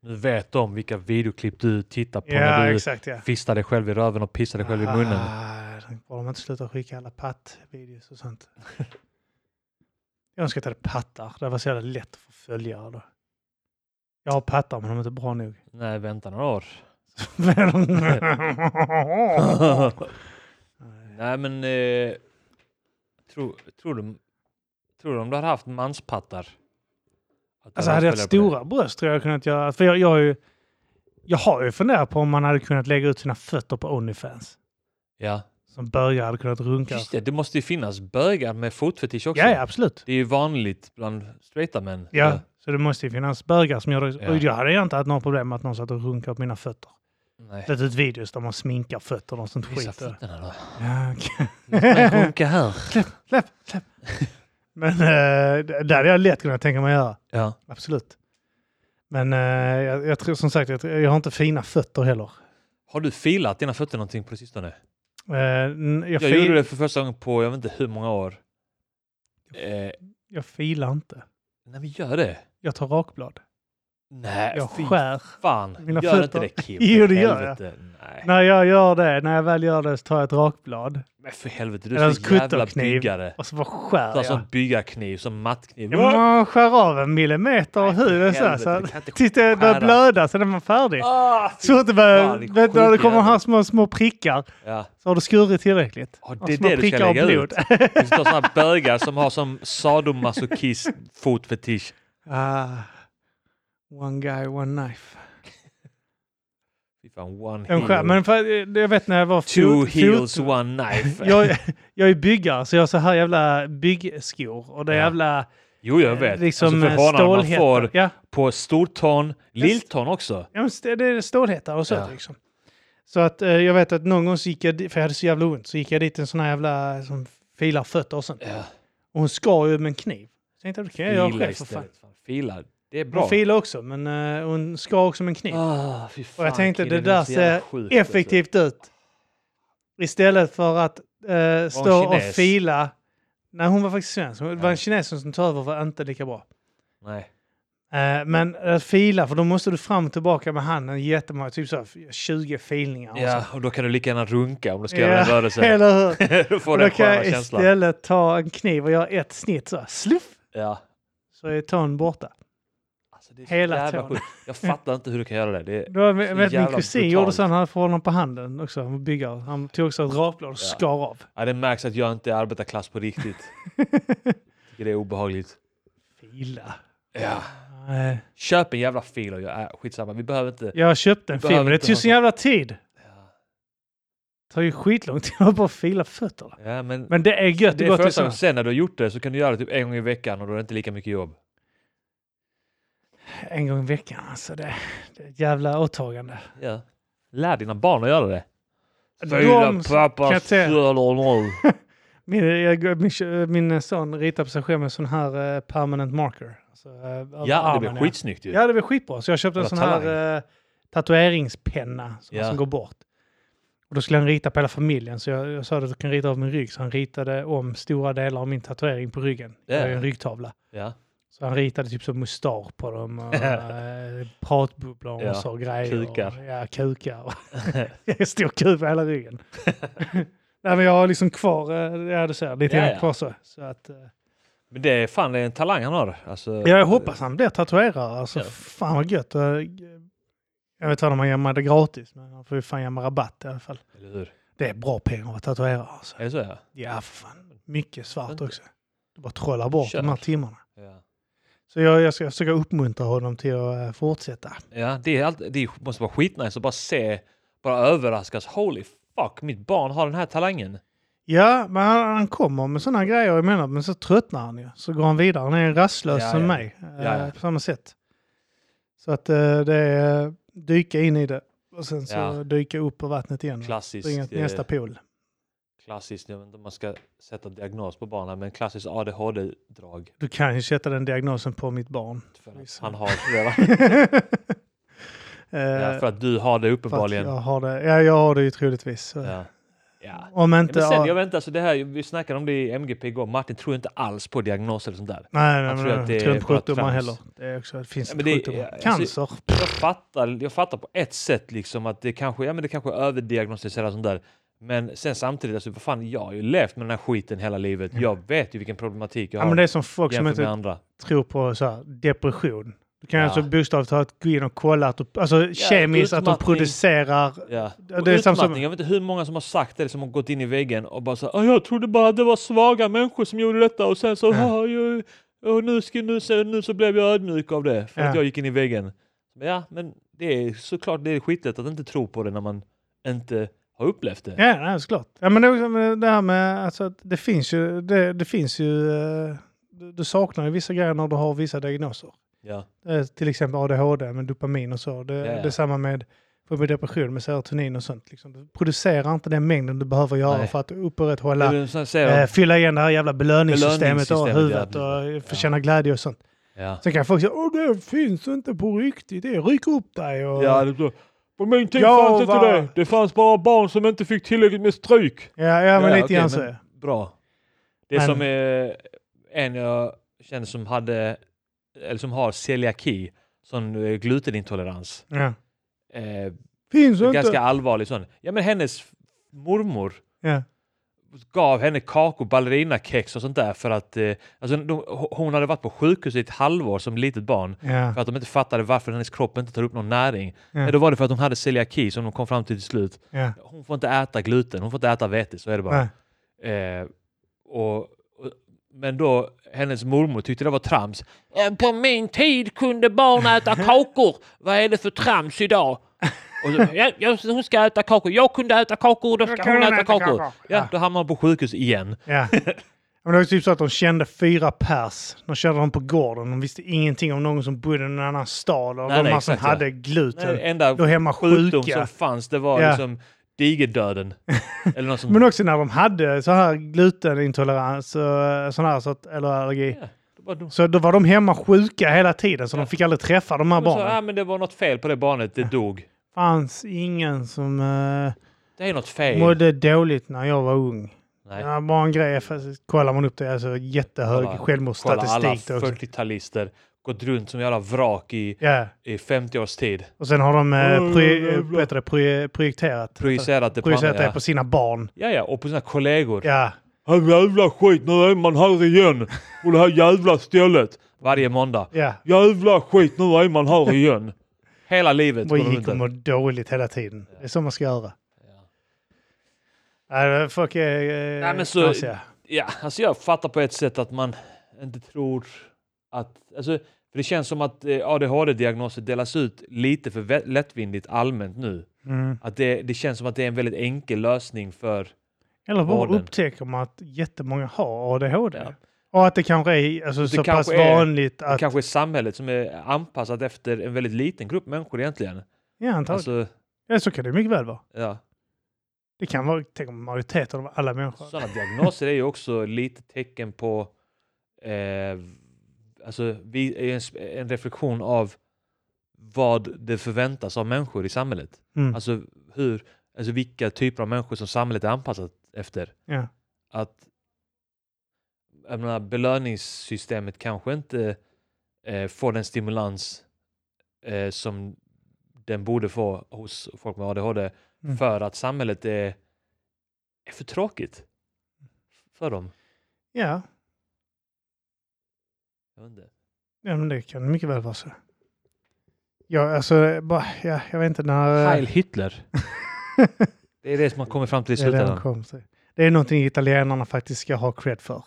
Speaker 1: Nu vet de vilka videoklipp du tittar på
Speaker 2: Ja
Speaker 1: när du
Speaker 2: exakt ja.
Speaker 1: fistar dig själv i röven och pissar dig själv i munnen.
Speaker 2: Ah, bara de inte slutar skicka alla pattvideos och sånt. jag önskar att jag hade pattar. Det var så jävla lätt att få följare då. Jag har pattar men de är inte bra nog.
Speaker 1: Nej, vänta några år. Nej, men... Eh, tror, tror, du, tror du om du hade haft manspattar? Att du
Speaker 2: Alltså hade jag haft
Speaker 1: spelat på det?
Speaker 2: stora bröst tror jag kunnat göra. För jag, jag, har ju, jag har ju funderat på om man hade kunnat lägga ut sina fötter på Onlyfans.
Speaker 1: Ja.
Speaker 2: Som bögar hade kunnat runka.
Speaker 1: Just det, det måste ju finnas bögar med fotfetisch också.
Speaker 2: Ja, ja, absolut.
Speaker 1: Det är ju vanligt bland straighta män.
Speaker 2: Ja, så det måste ju finnas bögar som gör det.
Speaker 1: Ja.
Speaker 2: Och jag hade ju inte haft några problem med att någon satt och runkade på mina fötter.
Speaker 1: Nej.
Speaker 2: Släppt ut videos där man sminkar fötterna och sånt
Speaker 1: Visa
Speaker 2: skit.
Speaker 1: fötterna då.
Speaker 2: Ja, okej.
Speaker 1: Men runka här.
Speaker 2: Släpp, släpp. Men eh, det det hade jag lätt kunnat tänka mig att göra.
Speaker 1: Ja.
Speaker 2: Absolut. Men eh, jag, jag tror som sagt, jag, jag har inte fina fötter heller.
Speaker 1: Har du filat dina fötter någonting på sistone?
Speaker 2: Eh, n- jag,
Speaker 1: Jag,
Speaker 2: fi-
Speaker 1: gjorde det för första gången på jag vet inte hur många år. Eh,
Speaker 2: jag filar inte.
Speaker 1: nej men gör det.
Speaker 2: Jag tar rakblad.
Speaker 1: Nej,
Speaker 2: Jag
Speaker 1: fy
Speaker 2: skär.
Speaker 1: fan.
Speaker 2: mina
Speaker 1: gör
Speaker 2: fötter.
Speaker 1: inte det Kim.
Speaker 2: Jo,
Speaker 1: för
Speaker 2: det gör jag.
Speaker 1: helvete. Nej.
Speaker 2: När jag gör det, när jag väl gör det så tar jag ett rakblad
Speaker 1: Men för helvete, du
Speaker 2: Eller
Speaker 1: är
Speaker 2: en
Speaker 1: så jävla
Speaker 2: kutterkniv.
Speaker 1: byggare.
Speaker 2: och så bara
Speaker 1: Du
Speaker 2: skär
Speaker 1: har
Speaker 2: jag.
Speaker 1: sån byggarkniv, som mattkniv.
Speaker 2: Ja, men Man skär av en millimeter av huden så, här, så
Speaker 1: Helvete, du kan
Speaker 2: att-
Speaker 1: inte
Speaker 2: tills det börjar
Speaker 1: skära.
Speaker 2: blöda, sen är man färdig.
Speaker 1: Ah, fy-
Speaker 2: Så att det börjar,
Speaker 1: fan, din
Speaker 2: vet, du, när det
Speaker 1: sjuka
Speaker 2: kommer
Speaker 1: jävel.
Speaker 2: här små, små prickar
Speaker 1: ja.
Speaker 2: så har du skurit tillräckligt.
Speaker 1: Ja, det
Speaker 2: Och
Speaker 1: är
Speaker 2: små
Speaker 1: det du ska
Speaker 2: prickar av
Speaker 1: lägga
Speaker 2: blod.
Speaker 1: Det finns sådana här bögar som har som sadomasochist fotfetisch.
Speaker 2: ah, one guy, one knife.
Speaker 1: Fy fan, one
Speaker 2: En skär,
Speaker 1: heel.
Speaker 2: men för, eh, jag vet när jag var
Speaker 1: Two
Speaker 2: fot-
Speaker 1: heels,
Speaker 2: fot-
Speaker 1: one knife.
Speaker 2: jag, jag är byggare så jag har så här jävla byggskor och det är
Speaker 1: Ja.
Speaker 2: jävla
Speaker 1: jo, jag vet.
Speaker 2: liksom
Speaker 1: alltså
Speaker 2: alltså
Speaker 1: förvånaden man
Speaker 2: stålhättar.
Speaker 1: får
Speaker 2: Ja,
Speaker 1: på stortån, lilltån också.
Speaker 2: ja, men st- det är stålhättar och sånt
Speaker 1: Ja.
Speaker 2: liksom. Så att eh, jag vet att någon gång så gick jag dit, för jag hade så jävla ont, så gick jag dit en sån här jävla som filar fötter och sånt.
Speaker 1: Ja,
Speaker 2: Och hon skar ju med en kniv. Så tänkte jag, det kan jag göra
Speaker 1: fila
Speaker 2: själv för fan.
Speaker 1: istället. Fan, fila, det är
Speaker 2: Hon
Speaker 1: bra.
Speaker 2: filar också, men eh, hon skar också med en kniv.
Speaker 1: Ah, fy fan,
Speaker 2: och jag tänkte,
Speaker 1: killen,
Speaker 2: det där
Speaker 1: är så jävla
Speaker 2: ser
Speaker 1: sjukt, alltså.
Speaker 2: effektivt ut. Istället för att eh, stå och
Speaker 1: kines?
Speaker 2: fila. Nej, hon var faktiskt svensk. Hon- Det var
Speaker 1: Ja.
Speaker 2: en kines som tog över var inte lika bra.
Speaker 1: Nej.
Speaker 2: Eh, men att fila, för då måste du fram och tillbaka med handen jättemånga, typ så här, 20 filningar. och
Speaker 1: Ja,
Speaker 2: så.
Speaker 1: och då kan du lika gärna runka om du ska
Speaker 2: Ja,
Speaker 1: göra en rörelse.
Speaker 2: Eller hur?
Speaker 1: då får
Speaker 2: Och
Speaker 1: du
Speaker 2: då
Speaker 1: den
Speaker 2: kan jag
Speaker 1: sköna känslan.
Speaker 2: istället ta en kniv och göra ett snitt så här, sluff,
Speaker 1: Ja.
Speaker 2: så är tån borta.
Speaker 1: Alltså, det är så
Speaker 2: Hela
Speaker 1: jävla
Speaker 2: tån.
Speaker 1: sjukt. Jag fattar inte hur du kan göra det. det är...
Speaker 2: Det var, vet, min kusin
Speaker 1: jävla
Speaker 2: gjorde
Speaker 1: brutalt.
Speaker 2: så, han hade honom på handen också, han var byggare. Han tog också ett rakblad och
Speaker 1: Ja.
Speaker 2: skar av.
Speaker 1: ja, det märks att jag inte är arbetarklass på riktigt. Tycker det är obehagligt.
Speaker 2: Fila.
Speaker 1: Ja.
Speaker 2: Nej.
Speaker 1: Köp en jävla fil och jag är skitsamma. Vi behöver inte...
Speaker 2: Jag köpte en
Speaker 1: Behöver
Speaker 2: film, men det
Speaker 1: inte
Speaker 2: tog
Speaker 1: ha
Speaker 2: så jävla tid. Det
Speaker 1: Ja,
Speaker 2: tar ju skitlång tid att bara fila fötterna.
Speaker 1: ja men,
Speaker 2: Men det är liksom. gött
Speaker 1: det
Speaker 2: att gå
Speaker 1: är
Speaker 2: till
Speaker 1: första
Speaker 2: sådana.
Speaker 1: gången. Sen när du har gjort det så kan du göra det typ en gång i veckan och då är det inte lika mycket jobb.
Speaker 2: En gång i veckan alltså. Det, det är ett jävla åtagande.
Speaker 1: Ja. Lär dina barn att göra det.
Speaker 2: De
Speaker 1: Fylla
Speaker 2: som- kan jag
Speaker 1: pappas
Speaker 2: säga-
Speaker 1: fötter noll.
Speaker 2: Min, jag, min, min eh, son ritar på sig själv med sån här eh, permanent marker. Alltså, eh, över
Speaker 1: Ja, det
Speaker 2: armen,
Speaker 1: blev skitsnyggt ju.
Speaker 2: Ja, det var skitbra. Så jag köpte en
Speaker 1: Jävla
Speaker 2: sån här eh, tatueringspenna som,
Speaker 1: Ja.
Speaker 2: som går bort. Och då skulle han rita på hela familjen, så jag, jag sa att du kan rita av min rygg. Så han ritade om stora delar av min tatuering på ryggen. Det är
Speaker 1: Ja.
Speaker 2: en ryggtavla.
Speaker 1: Ja.
Speaker 2: Så han ritade typ som mustasch på dem, och, eh, pratbubblor och
Speaker 1: Ja.
Speaker 2: så grejer.
Speaker 1: Kukar.
Speaker 2: Och, ja, kukar. och- en stor kuk på hela ryggen. Nej, men jag har liksom kvar, eh, ja du ser, lite
Speaker 1: Ja,
Speaker 2: grann
Speaker 1: ja.
Speaker 2: kvar så. så att, eh,
Speaker 1: Men det är fan det är en talang han har. Alltså,
Speaker 2: Ja, jag hoppas han blir tatuerare. Alltså,
Speaker 1: Ja.
Speaker 2: Fan vad gött. Jag- Jag vet inte om han gör mig det gratis, men han får ju fan ge mig rabatt i alla fall.
Speaker 1: Eller hur?
Speaker 2: Det är bra pengar att vara tatuerare. Alltså.
Speaker 1: Är det så? Ja.
Speaker 2: Ja, för fan. Mycket svart
Speaker 1: Inte.
Speaker 2: också. Du bara trollar bort
Speaker 1: Kör.
Speaker 2: de här timmarna.
Speaker 1: Ja.
Speaker 2: Så jag, jag ska försöka uppmuntra honom till att eh, fortsätta.
Speaker 1: Ja, det, är allt, det måste vara skitnice att bara se, bara överraskas. Holy fuck, mitt barn har den här talangen.
Speaker 2: Ja, men han, han kommer med sådana grejer jag menar, men så tröttnar han ju. Så går han vidare. Han är rastlös
Speaker 1: Ja,
Speaker 2: som
Speaker 1: ja.
Speaker 2: mig. eh,
Speaker 1: Ja, ja.
Speaker 2: På samma sätt. Så att eh, det är eh, dyka in i det och sen så
Speaker 1: Ja.
Speaker 2: dyka upp på vattnet igen. Springa
Speaker 1: Klassiskt.
Speaker 2: Mm. till nästa
Speaker 1: Eh,
Speaker 2: pool.
Speaker 1: klassiskt, jag vet inte om man ska sätta diagnos på barnen, men klassiskt ADHD-drag.
Speaker 2: Du kan ju sätta den diagnosen på mitt barn.
Speaker 1: För att
Speaker 2: Visst.
Speaker 1: han har redan.
Speaker 2: Eh,
Speaker 1: Ja, för att du har det
Speaker 2: för att
Speaker 1: uppenbarligen.
Speaker 2: jag har det. Ja, jag har det ju troligtvis. Så.
Speaker 1: Ja. Ja.
Speaker 2: Om
Speaker 1: Ja,
Speaker 2: inte...
Speaker 1: Men sen,
Speaker 2: ja,
Speaker 1: jag väntar, så det här, vi snackade om det i MGP igår, Martin tror inte alls på diagnoser och sånt där.
Speaker 2: nej, nej,
Speaker 1: jag
Speaker 2: nej,
Speaker 1: tror att det
Speaker 2: jag tror inte
Speaker 1: är bara
Speaker 2: sjukdomar
Speaker 1: trams.
Speaker 2: heller. Det, är också, det finns
Speaker 1: Ja,
Speaker 2: ja,
Speaker 1: men det-
Speaker 2: sjukdomar.
Speaker 1: ja, alltså-
Speaker 2: Cancer.
Speaker 1: Jag fattar, jag fattar på ett sätt liksom att det kanske, ja, men det kanske är överdiagnostiserat och sånt där. Men sen samtidigt, alltså, vad fan, jag har ju levt med den här skiten hela livet.
Speaker 2: Mm.
Speaker 1: Jag vet ju vilken problematik jag
Speaker 2: ja,
Speaker 1: har
Speaker 2: men det är som folk som
Speaker 1: jämfört
Speaker 2: inte
Speaker 1: med andra.
Speaker 2: tror på så här, depression. Du kan
Speaker 1: Ja.
Speaker 2: alltså bokstavligt talat gå in och kolla att de, alltså, kemiskt att de
Speaker 1: utmattning.
Speaker 2: producerar...
Speaker 1: Ja.
Speaker 2: det
Speaker 1: Och
Speaker 2: är samma som-
Speaker 1: utmattning, jag vet inte hur många som har sagt det, som har gått in i väggen och bara så här, "Ah, jag trodde bara att det var svaga människor som gjorde detta och sen så,
Speaker 2: Ja.
Speaker 1: "Ah, jag, och nu, ska, nu, så, nu så blev jag ödmjuk av det för att
Speaker 2: Ja.
Speaker 1: jag gick in i väggen. Men ja, men det är såklart det är skitligt att inte tro på det när man inte har upplevt det.
Speaker 2: Ja, nej, såklart. Ja, men det, är också med det här med alltså, att det finns ju... Det, det finns ju eh, du, du saknar ju vissa grejer när du har vissa diagnoser.
Speaker 1: Ja,
Speaker 2: Eh, till exempel ADHD med dopamin och så. Det,
Speaker 1: Ja, ja.
Speaker 2: det är samma med, för med depression med serotonin och sånt. Liksom. Du producerar inte den mängden du behöver göra
Speaker 1: Nej.
Speaker 2: för att
Speaker 1: Det är
Speaker 2: upprätthålla,
Speaker 1: väl som jag säger,
Speaker 2: eh, fylla igen det här jävla belöningssystemet och
Speaker 1: Belöningssystemet,
Speaker 2: huvudet
Speaker 1: ja,
Speaker 2: och eh, få känna glädje och sånt.
Speaker 1: ja.
Speaker 2: Sen kan folk säga åh det finns inte på riktigt, det ryck upp dig. Och,
Speaker 1: Ja,
Speaker 2: ja.
Speaker 1: det är så. På min tid
Speaker 2: Ja,
Speaker 1: fanns inte
Speaker 2: va.
Speaker 1: det. Det fanns bara barn som inte fick tillräckligt med stryk.
Speaker 2: Ja, men
Speaker 1: Ja,
Speaker 2: lite
Speaker 1: okej,
Speaker 2: grann
Speaker 1: men
Speaker 2: så. ja.
Speaker 1: Bra. Det är
Speaker 2: Men-
Speaker 1: som eh, en jag känner som hade, eller som har celiaki, sån eh, glutenintolerans.
Speaker 2: Ja.
Speaker 1: Eh,
Speaker 2: Finns inte.
Speaker 1: ganska allvarlig sån. Ja men hennes mormor
Speaker 2: Ja.
Speaker 1: gav henne kakor, ballerinakex och sånt där för att eh, alltså, de, hon hade varit på sjukhus i ett halvår som litet barn
Speaker 2: Ja.
Speaker 1: för att de inte fattade varför hennes kropp inte tar upp någon näring.
Speaker 2: Ja.
Speaker 1: Ja. Då var det för att hon hade celiaki som de kom fram till till slut.
Speaker 2: Ja.
Speaker 1: Hon får inte äta gluten, hon får inte äta vete, så är det bara.
Speaker 2: Nej.
Speaker 1: Eh, och, och, men då, hennes mormor tyckte det var trams. "Eh, På min tid kunde barn äta kakor. Vad är det för trams idag? Och så, ja, jag, hon ska äta kakor. Jag kunde äta kakor, då
Speaker 2: Då
Speaker 1: ska
Speaker 2: kan
Speaker 1: hon
Speaker 2: hon
Speaker 1: äta
Speaker 2: äta
Speaker 1: kakor.
Speaker 2: kakor.
Speaker 1: Ja,
Speaker 2: Ja.
Speaker 1: då hamnar hon på sjukhus igen.
Speaker 2: Ja. Men det var typ så att de kände fyra pers. De körde dem på gården. De visste ingenting om någon som bodde i en annan stad. Och
Speaker 1: Nej,
Speaker 2: de
Speaker 1: nej,
Speaker 2: här som
Speaker 1: exakt, ja.
Speaker 2: hade gluten.
Speaker 1: Nej, enda
Speaker 2: Då hemma
Speaker 1: sjukdom som
Speaker 2: sjuka.
Speaker 1: fanns, det var
Speaker 2: Ja.
Speaker 1: liksom digerdöden. Eller något
Speaker 2: Men
Speaker 1: sånt.
Speaker 2: också när de hade så här glutenintolerans och sån här sort, eller allergi.
Speaker 1: Ja, då bara de-
Speaker 2: Så då var de hemma sjuka hela tiden så
Speaker 1: Ja.
Speaker 2: de fick aldrig träffa de här
Speaker 1: de sa,
Speaker 2: barnen.
Speaker 1: "Ah, men det var något fel på det barnet, det dog.
Speaker 2: fanns ingen som eh,
Speaker 1: Det är något fel.
Speaker 2: mådde dåligt när jag var ung.
Speaker 1: Nej.
Speaker 2: Ja, bara en grej, fast kollar man upp det, alltså jättehög
Speaker 1: Kolla- Kolla alla
Speaker 2: självmordsstatistik. då också.
Speaker 1: 40-talister gått runt som jävla vrak i,
Speaker 2: Ja,
Speaker 1: i 50 års tid.
Speaker 2: och sen har de
Speaker 1: Oj,
Speaker 2: eh,
Speaker 1: oj,
Speaker 2: pro,
Speaker 1: oj,
Speaker 2: eh, vad heter det, pro, projekterat,
Speaker 1: Projicerat det på
Speaker 2: projicerat
Speaker 1: andra.
Speaker 2: det
Speaker 1: Ja.
Speaker 2: på sina barn.
Speaker 1: ja, ja, och på sina kollegor.
Speaker 2: Ja,
Speaker 1: Här jävla skit, nu är man här igen. På det här jävla stället. Varje måndag.
Speaker 2: ja.
Speaker 1: Jävla skit, nu är man här igen. Hela livet
Speaker 2: Och
Speaker 1: går de
Speaker 2: gick
Speaker 1: runt
Speaker 2: och
Speaker 1: där.
Speaker 2: mår dåligt hela tiden. Det är så man ska göra.
Speaker 1: Ja.
Speaker 2: Ja, folk är eh,
Speaker 1: Nej, men så-
Speaker 2: knasiga.
Speaker 1: Ja, alltså jag fattar på ett sätt att man inte tror att... Alltså, för det känns som att eh, ADHD-diagnoser delas ut lite för vä- lättvindigt allmänt nu.
Speaker 2: Mm.
Speaker 1: Att det, det känns som att det är en väldigt enkel lösning för
Speaker 2: Eller bara
Speaker 1: vården.
Speaker 2: upptäcker man att jättemånga har ADHD.
Speaker 1: Ja.
Speaker 2: Och att det kanske är alltså, så
Speaker 1: kanske
Speaker 2: pass
Speaker 1: är-
Speaker 2: vanligt att...
Speaker 1: Det kanske är samhället som är anpassat efter en väldigt liten grupp människor egentligen.
Speaker 2: Ja, antagligen.
Speaker 1: Alltså,
Speaker 2: Ja, så kan det mycket väl vara.
Speaker 1: ja.
Speaker 2: Det kan vara, tänk om majoriteten av alla människor.
Speaker 1: Sådana diagnoser är ju också lite tecken på eh, alltså, vi, en, en reflektion av vad det förväntas av människor i samhället.
Speaker 2: Mm.
Speaker 1: Alltså, hur, alltså vilka typer av människor som samhället är anpassat efter.
Speaker 2: Ja.
Speaker 1: Att jag menar, belöningssystemet kanske inte eh, får den stimulans eh, som den borde få hos folk med ADHD
Speaker 2: Mm.
Speaker 1: för att samhället är, är för tråkigt för dem.
Speaker 2: ja.
Speaker 1: Jag vet inte.
Speaker 2: ja, men det kan mycket väl vara så. Ja, alltså, bara, ja, jag vet inte när... eh,
Speaker 1: Heil Hitler. Det är det som man kommer fram till i
Speaker 2: Det är, det, de
Speaker 1: slutändan.
Speaker 2: kom till. det är någonting italienarna faktiskt ska ha cred för.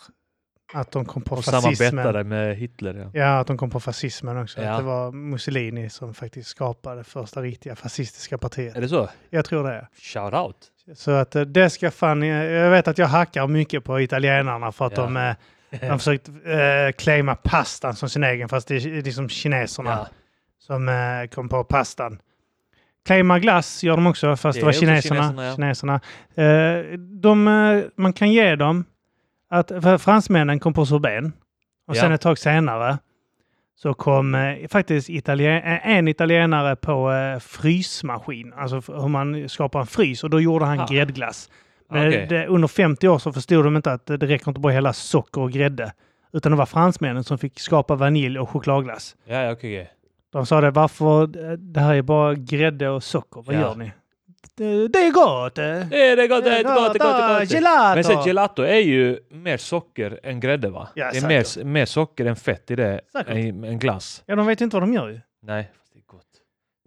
Speaker 2: Att de kom på
Speaker 1: De
Speaker 2: fascismen.
Speaker 1: samarbetade med Hitler. Ja.
Speaker 2: Ja, att de kom på fascismen också.
Speaker 1: Ja.
Speaker 2: Att det var Mussolini som faktiskt skapade första riktiga fascistiska partiet.
Speaker 1: Är det så?
Speaker 2: Jag tror det. Är.
Speaker 1: Shout out.
Speaker 2: Så att eh, det ska fan... Jag jag vet att jag hackar mycket på italienarna för att
Speaker 1: Ja.
Speaker 2: de, eh, de har försökt eh, claima pastan som sin egen. Fast det är det är liksom kineserna
Speaker 1: Ja,
Speaker 2: som eh, kom på pastan. Claima glass gör de också,
Speaker 1: Det
Speaker 2: fast det,
Speaker 1: är
Speaker 2: var
Speaker 1: också
Speaker 2: kineserna.
Speaker 1: kineserna, ja.
Speaker 2: kineserna, Eh, de, eh, man kan ge dem att för fransmännen kom på sorben och
Speaker 1: Ja.
Speaker 2: sen ett tag senare så kom eh, faktiskt italien, eh, en italienare på eh, frysmaskin, alltså f- hur man skapar en frys och då gjorde han
Speaker 1: Ah.
Speaker 2: gräddglass. Men
Speaker 1: okej.
Speaker 2: det, under 50 år så förstod de inte att det det räcker inte bara att hälla socker och grädde, utan det var fransmännen som fick skapa vanilj och chokladglass.
Speaker 1: ja, ja, okej. okej.
Speaker 2: De sa det, varför, det här är bara grädde och socker, vad
Speaker 1: Ja.
Speaker 2: gör ni? Det, det är gott! eh.
Speaker 1: Eh, Det är gott, det är gott, det är gott, det är gott.
Speaker 2: Gelato!
Speaker 1: Men sen gelato är ju mer socker än grädde va?
Speaker 2: Ja,
Speaker 1: det är
Speaker 2: säkert.
Speaker 1: mer, mer socker än fett i det
Speaker 2: Säkert.
Speaker 1: än, än glass.
Speaker 2: Ja, de vet ju inte vad de
Speaker 1: Mm.
Speaker 2: gör ju.
Speaker 1: Nej, fast det är gott.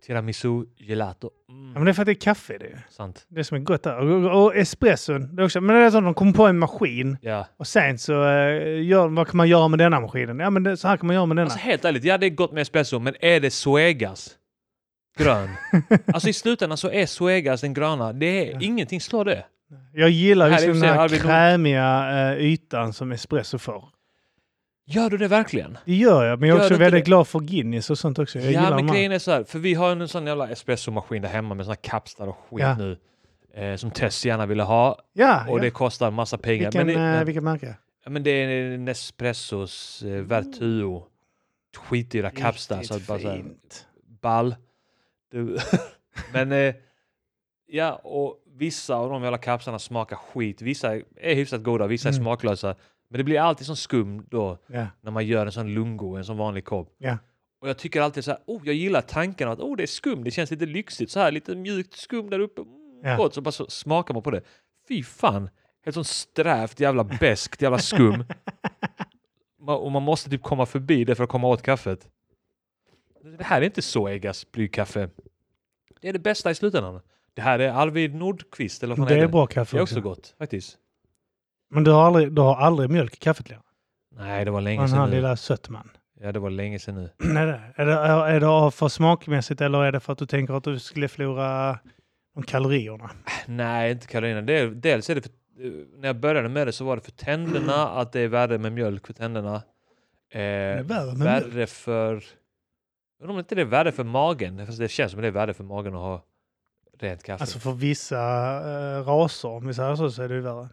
Speaker 1: Tiramisu gelato. Mm.
Speaker 2: Ja, men det är för att det är kaffe det. är ju.
Speaker 1: Sant.
Speaker 2: Det som är gott där. Och, och espresson, det är också, men det är så att de kommer på en maskin
Speaker 1: Ja.
Speaker 2: och sen så, eh, gör, vad kan man göra med denna maskinen? Ja, men det, så här kan man göra med denna.
Speaker 1: Alltså helt ärligt, ja det är gott med espresso, men är det Suegas grön? alltså i slutändan så är Suegas den gröna, det är ingenting slår det.
Speaker 2: jag gillar
Speaker 1: här är
Speaker 2: just
Speaker 1: ju
Speaker 2: den
Speaker 1: så här,
Speaker 2: här
Speaker 1: Arvid Nord-
Speaker 2: krämiga eh, ytan som espresso får.
Speaker 1: Gör du det verkligen?
Speaker 2: Det gör jag, men jag
Speaker 1: Gör
Speaker 2: är också
Speaker 1: det inte
Speaker 2: väldigt
Speaker 1: det?
Speaker 2: glad för Guinness och sånt också. Jag
Speaker 1: ja
Speaker 2: gillar
Speaker 1: men
Speaker 2: de här.
Speaker 1: grejen är så här, för vi har ju en sån jävla espressomaskin där hemma med såna kapslar och skit
Speaker 2: Ja.
Speaker 1: nu. Eh, som Tess gärna ville ha
Speaker 2: Ja,
Speaker 1: och
Speaker 2: Ah, ja.
Speaker 1: det kostar en massa pengar.
Speaker 2: Vilken,
Speaker 1: men det,
Speaker 2: eh, vilket märke?
Speaker 1: Ja, men det är Nespressos eh, Vertuo. Skitdyra kapslar. Så att bara så här,
Speaker 2: fint.
Speaker 1: ball. Du. men eh, ja, och vissa av de jävla kapslarna smakar skit. Vissa är hyfsat goda, vissa är
Speaker 2: Mm.
Speaker 1: smaklösa. Men det blir alltid sån skum då
Speaker 2: Ja.
Speaker 1: när man gör en sån lungo, en sån vanlig kopp.
Speaker 2: Ja.
Speaker 1: Och jag tycker alltid så här, oh, jag gillar tanken av att oh, det är skum, det känns lite lyxigt så här, lite mjukt skum där uppe. Mm,
Speaker 2: Ja.
Speaker 1: Gott, så bara så smakar man på det. Fy fan, helt sån strävt jävla beskt jävla skum. Ma- och man måste typ komma förbi det för att komma åt kaffet. Det här är inte så Eggas blygkaffe. Det är det bästa i slutändan. Det här är Arvid Nordqvist eller vad fan
Speaker 2: Det
Speaker 1: är
Speaker 2: är
Speaker 1: det?
Speaker 2: bra kaffe
Speaker 1: Det är också gott faktiskt.
Speaker 2: Men du har aldrig, du har aldrig mjölk i kaffet längre?
Speaker 1: Nej, det var länge
Speaker 2: Den här
Speaker 1: sedan nu.
Speaker 2: lilla sötman.
Speaker 1: Ja, det var länge sedan nu.
Speaker 2: Nej, det- är, det, är, är det av för smakmässigt eller är det för att du tänker att du skulle förlora de
Speaker 1: Alltså.
Speaker 2: kalorierna?
Speaker 1: Nej, inte kalorierna. Det är, dels är det för, eh, när jag började med det så var det för tänderna, att det är värre med mjölk för tänderna. Eh,
Speaker 2: är värre med
Speaker 1: värre för... Jag undrar om inte det är värre för magen. Fast det känns som att det är värre för magen att ha rent kaffe.
Speaker 2: Alltså för vissa eh, raser, om vi säger så, så är det ju värre.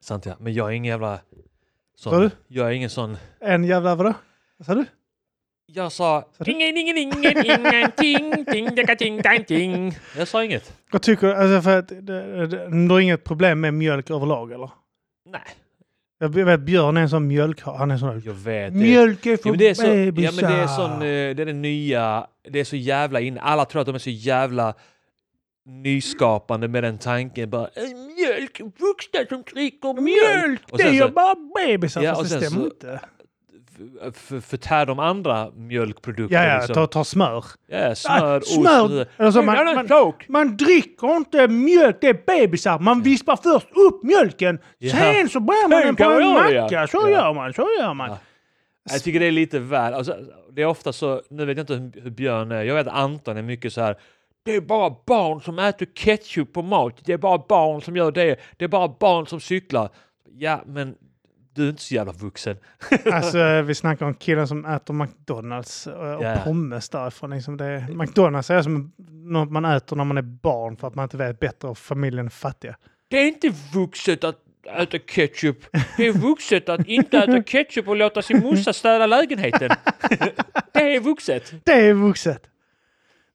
Speaker 1: Sant ja. Men jag är ingen jävla...
Speaker 2: Sa
Speaker 1: Sån,
Speaker 2: du?
Speaker 1: jag är ingen sån...
Speaker 2: En jävla vadå? Vad sa du?
Speaker 1: Jag sa...
Speaker 2: Sa du?
Speaker 1: Ingen, ingen, ingen, ingen, ting, ting, daka, ting, dang, ting. Jag sa inget.
Speaker 2: Jag tycker, alltså för att det, det, det, du har inget problem med mjölk överlag eller?
Speaker 1: Nej,
Speaker 2: Jag vet Björn är en sån mjölk... Han är sån...
Speaker 1: jag vet. det.
Speaker 2: Mjölk är för
Speaker 1: Ja men, det är så, ja, men
Speaker 2: bebisar!
Speaker 1: det är sån, eh, det är det nya, det är så jävla in. Alla tror att de är så jävla nyskapande med den tanken. Bara, "Eh, mjölk, vuxna som dricker mjölk!
Speaker 2: Mjölk!
Speaker 1: Och
Speaker 2: det
Speaker 1: sen
Speaker 2: är
Speaker 1: så-
Speaker 2: ju bara bebisar!
Speaker 1: Ja,
Speaker 2: fast
Speaker 1: och
Speaker 2: det
Speaker 1: sen
Speaker 2: stämmer
Speaker 1: så-
Speaker 2: inte.
Speaker 1: F- f- Förtär de andra mjölkprodukter.
Speaker 2: Ja, ja,
Speaker 1: liksom.
Speaker 2: ta, ta smör.
Speaker 1: ja smör,
Speaker 2: Ah,
Speaker 1: ost
Speaker 2: smör.
Speaker 1: och så vidare.
Speaker 2: Alltså, man-
Speaker 1: Det är en
Speaker 2: man-
Speaker 1: sak.
Speaker 2: Man dricker inte mjölk, det är bebisar. Man vispar först upp mjölken,
Speaker 1: Ja.
Speaker 2: sen så bränner man
Speaker 1: Sen
Speaker 2: den på
Speaker 1: kan man
Speaker 2: en
Speaker 1: göra det,
Speaker 2: macka.
Speaker 1: ja.
Speaker 2: Så
Speaker 1: Ja.
Speaker 2: gör man, så gör man.
Speaker 1: Ja. Jag tycker det är lite väl... Alltså, det är ofta så... Nu vet jag inte hur- hur Björn är. Jag vet att Anton är mycket så här... Det är bara barn som äter ketchup på mat. Det är bara barn som gör det. Det är bara barn som cyklar. Ja, men Du är inte så jävla vuxen.
Speaker 2: Alltså eh, vi snackar om killen som äter McDonalds eh, och
Speaker 1: Ja.
Speaker 2: pommes därifrån. Liksom det, McDonalds är som något man äter när man är barn för att man inte vet bättre och familjen är fattiga.
Speaker 1: Det är inte vuxet att äta ketchup. Det är vuxet att inte äta ketchup och låta sin morsa städa lägenheten. Det är vuxet.
Speaker 2: Det är vuxet!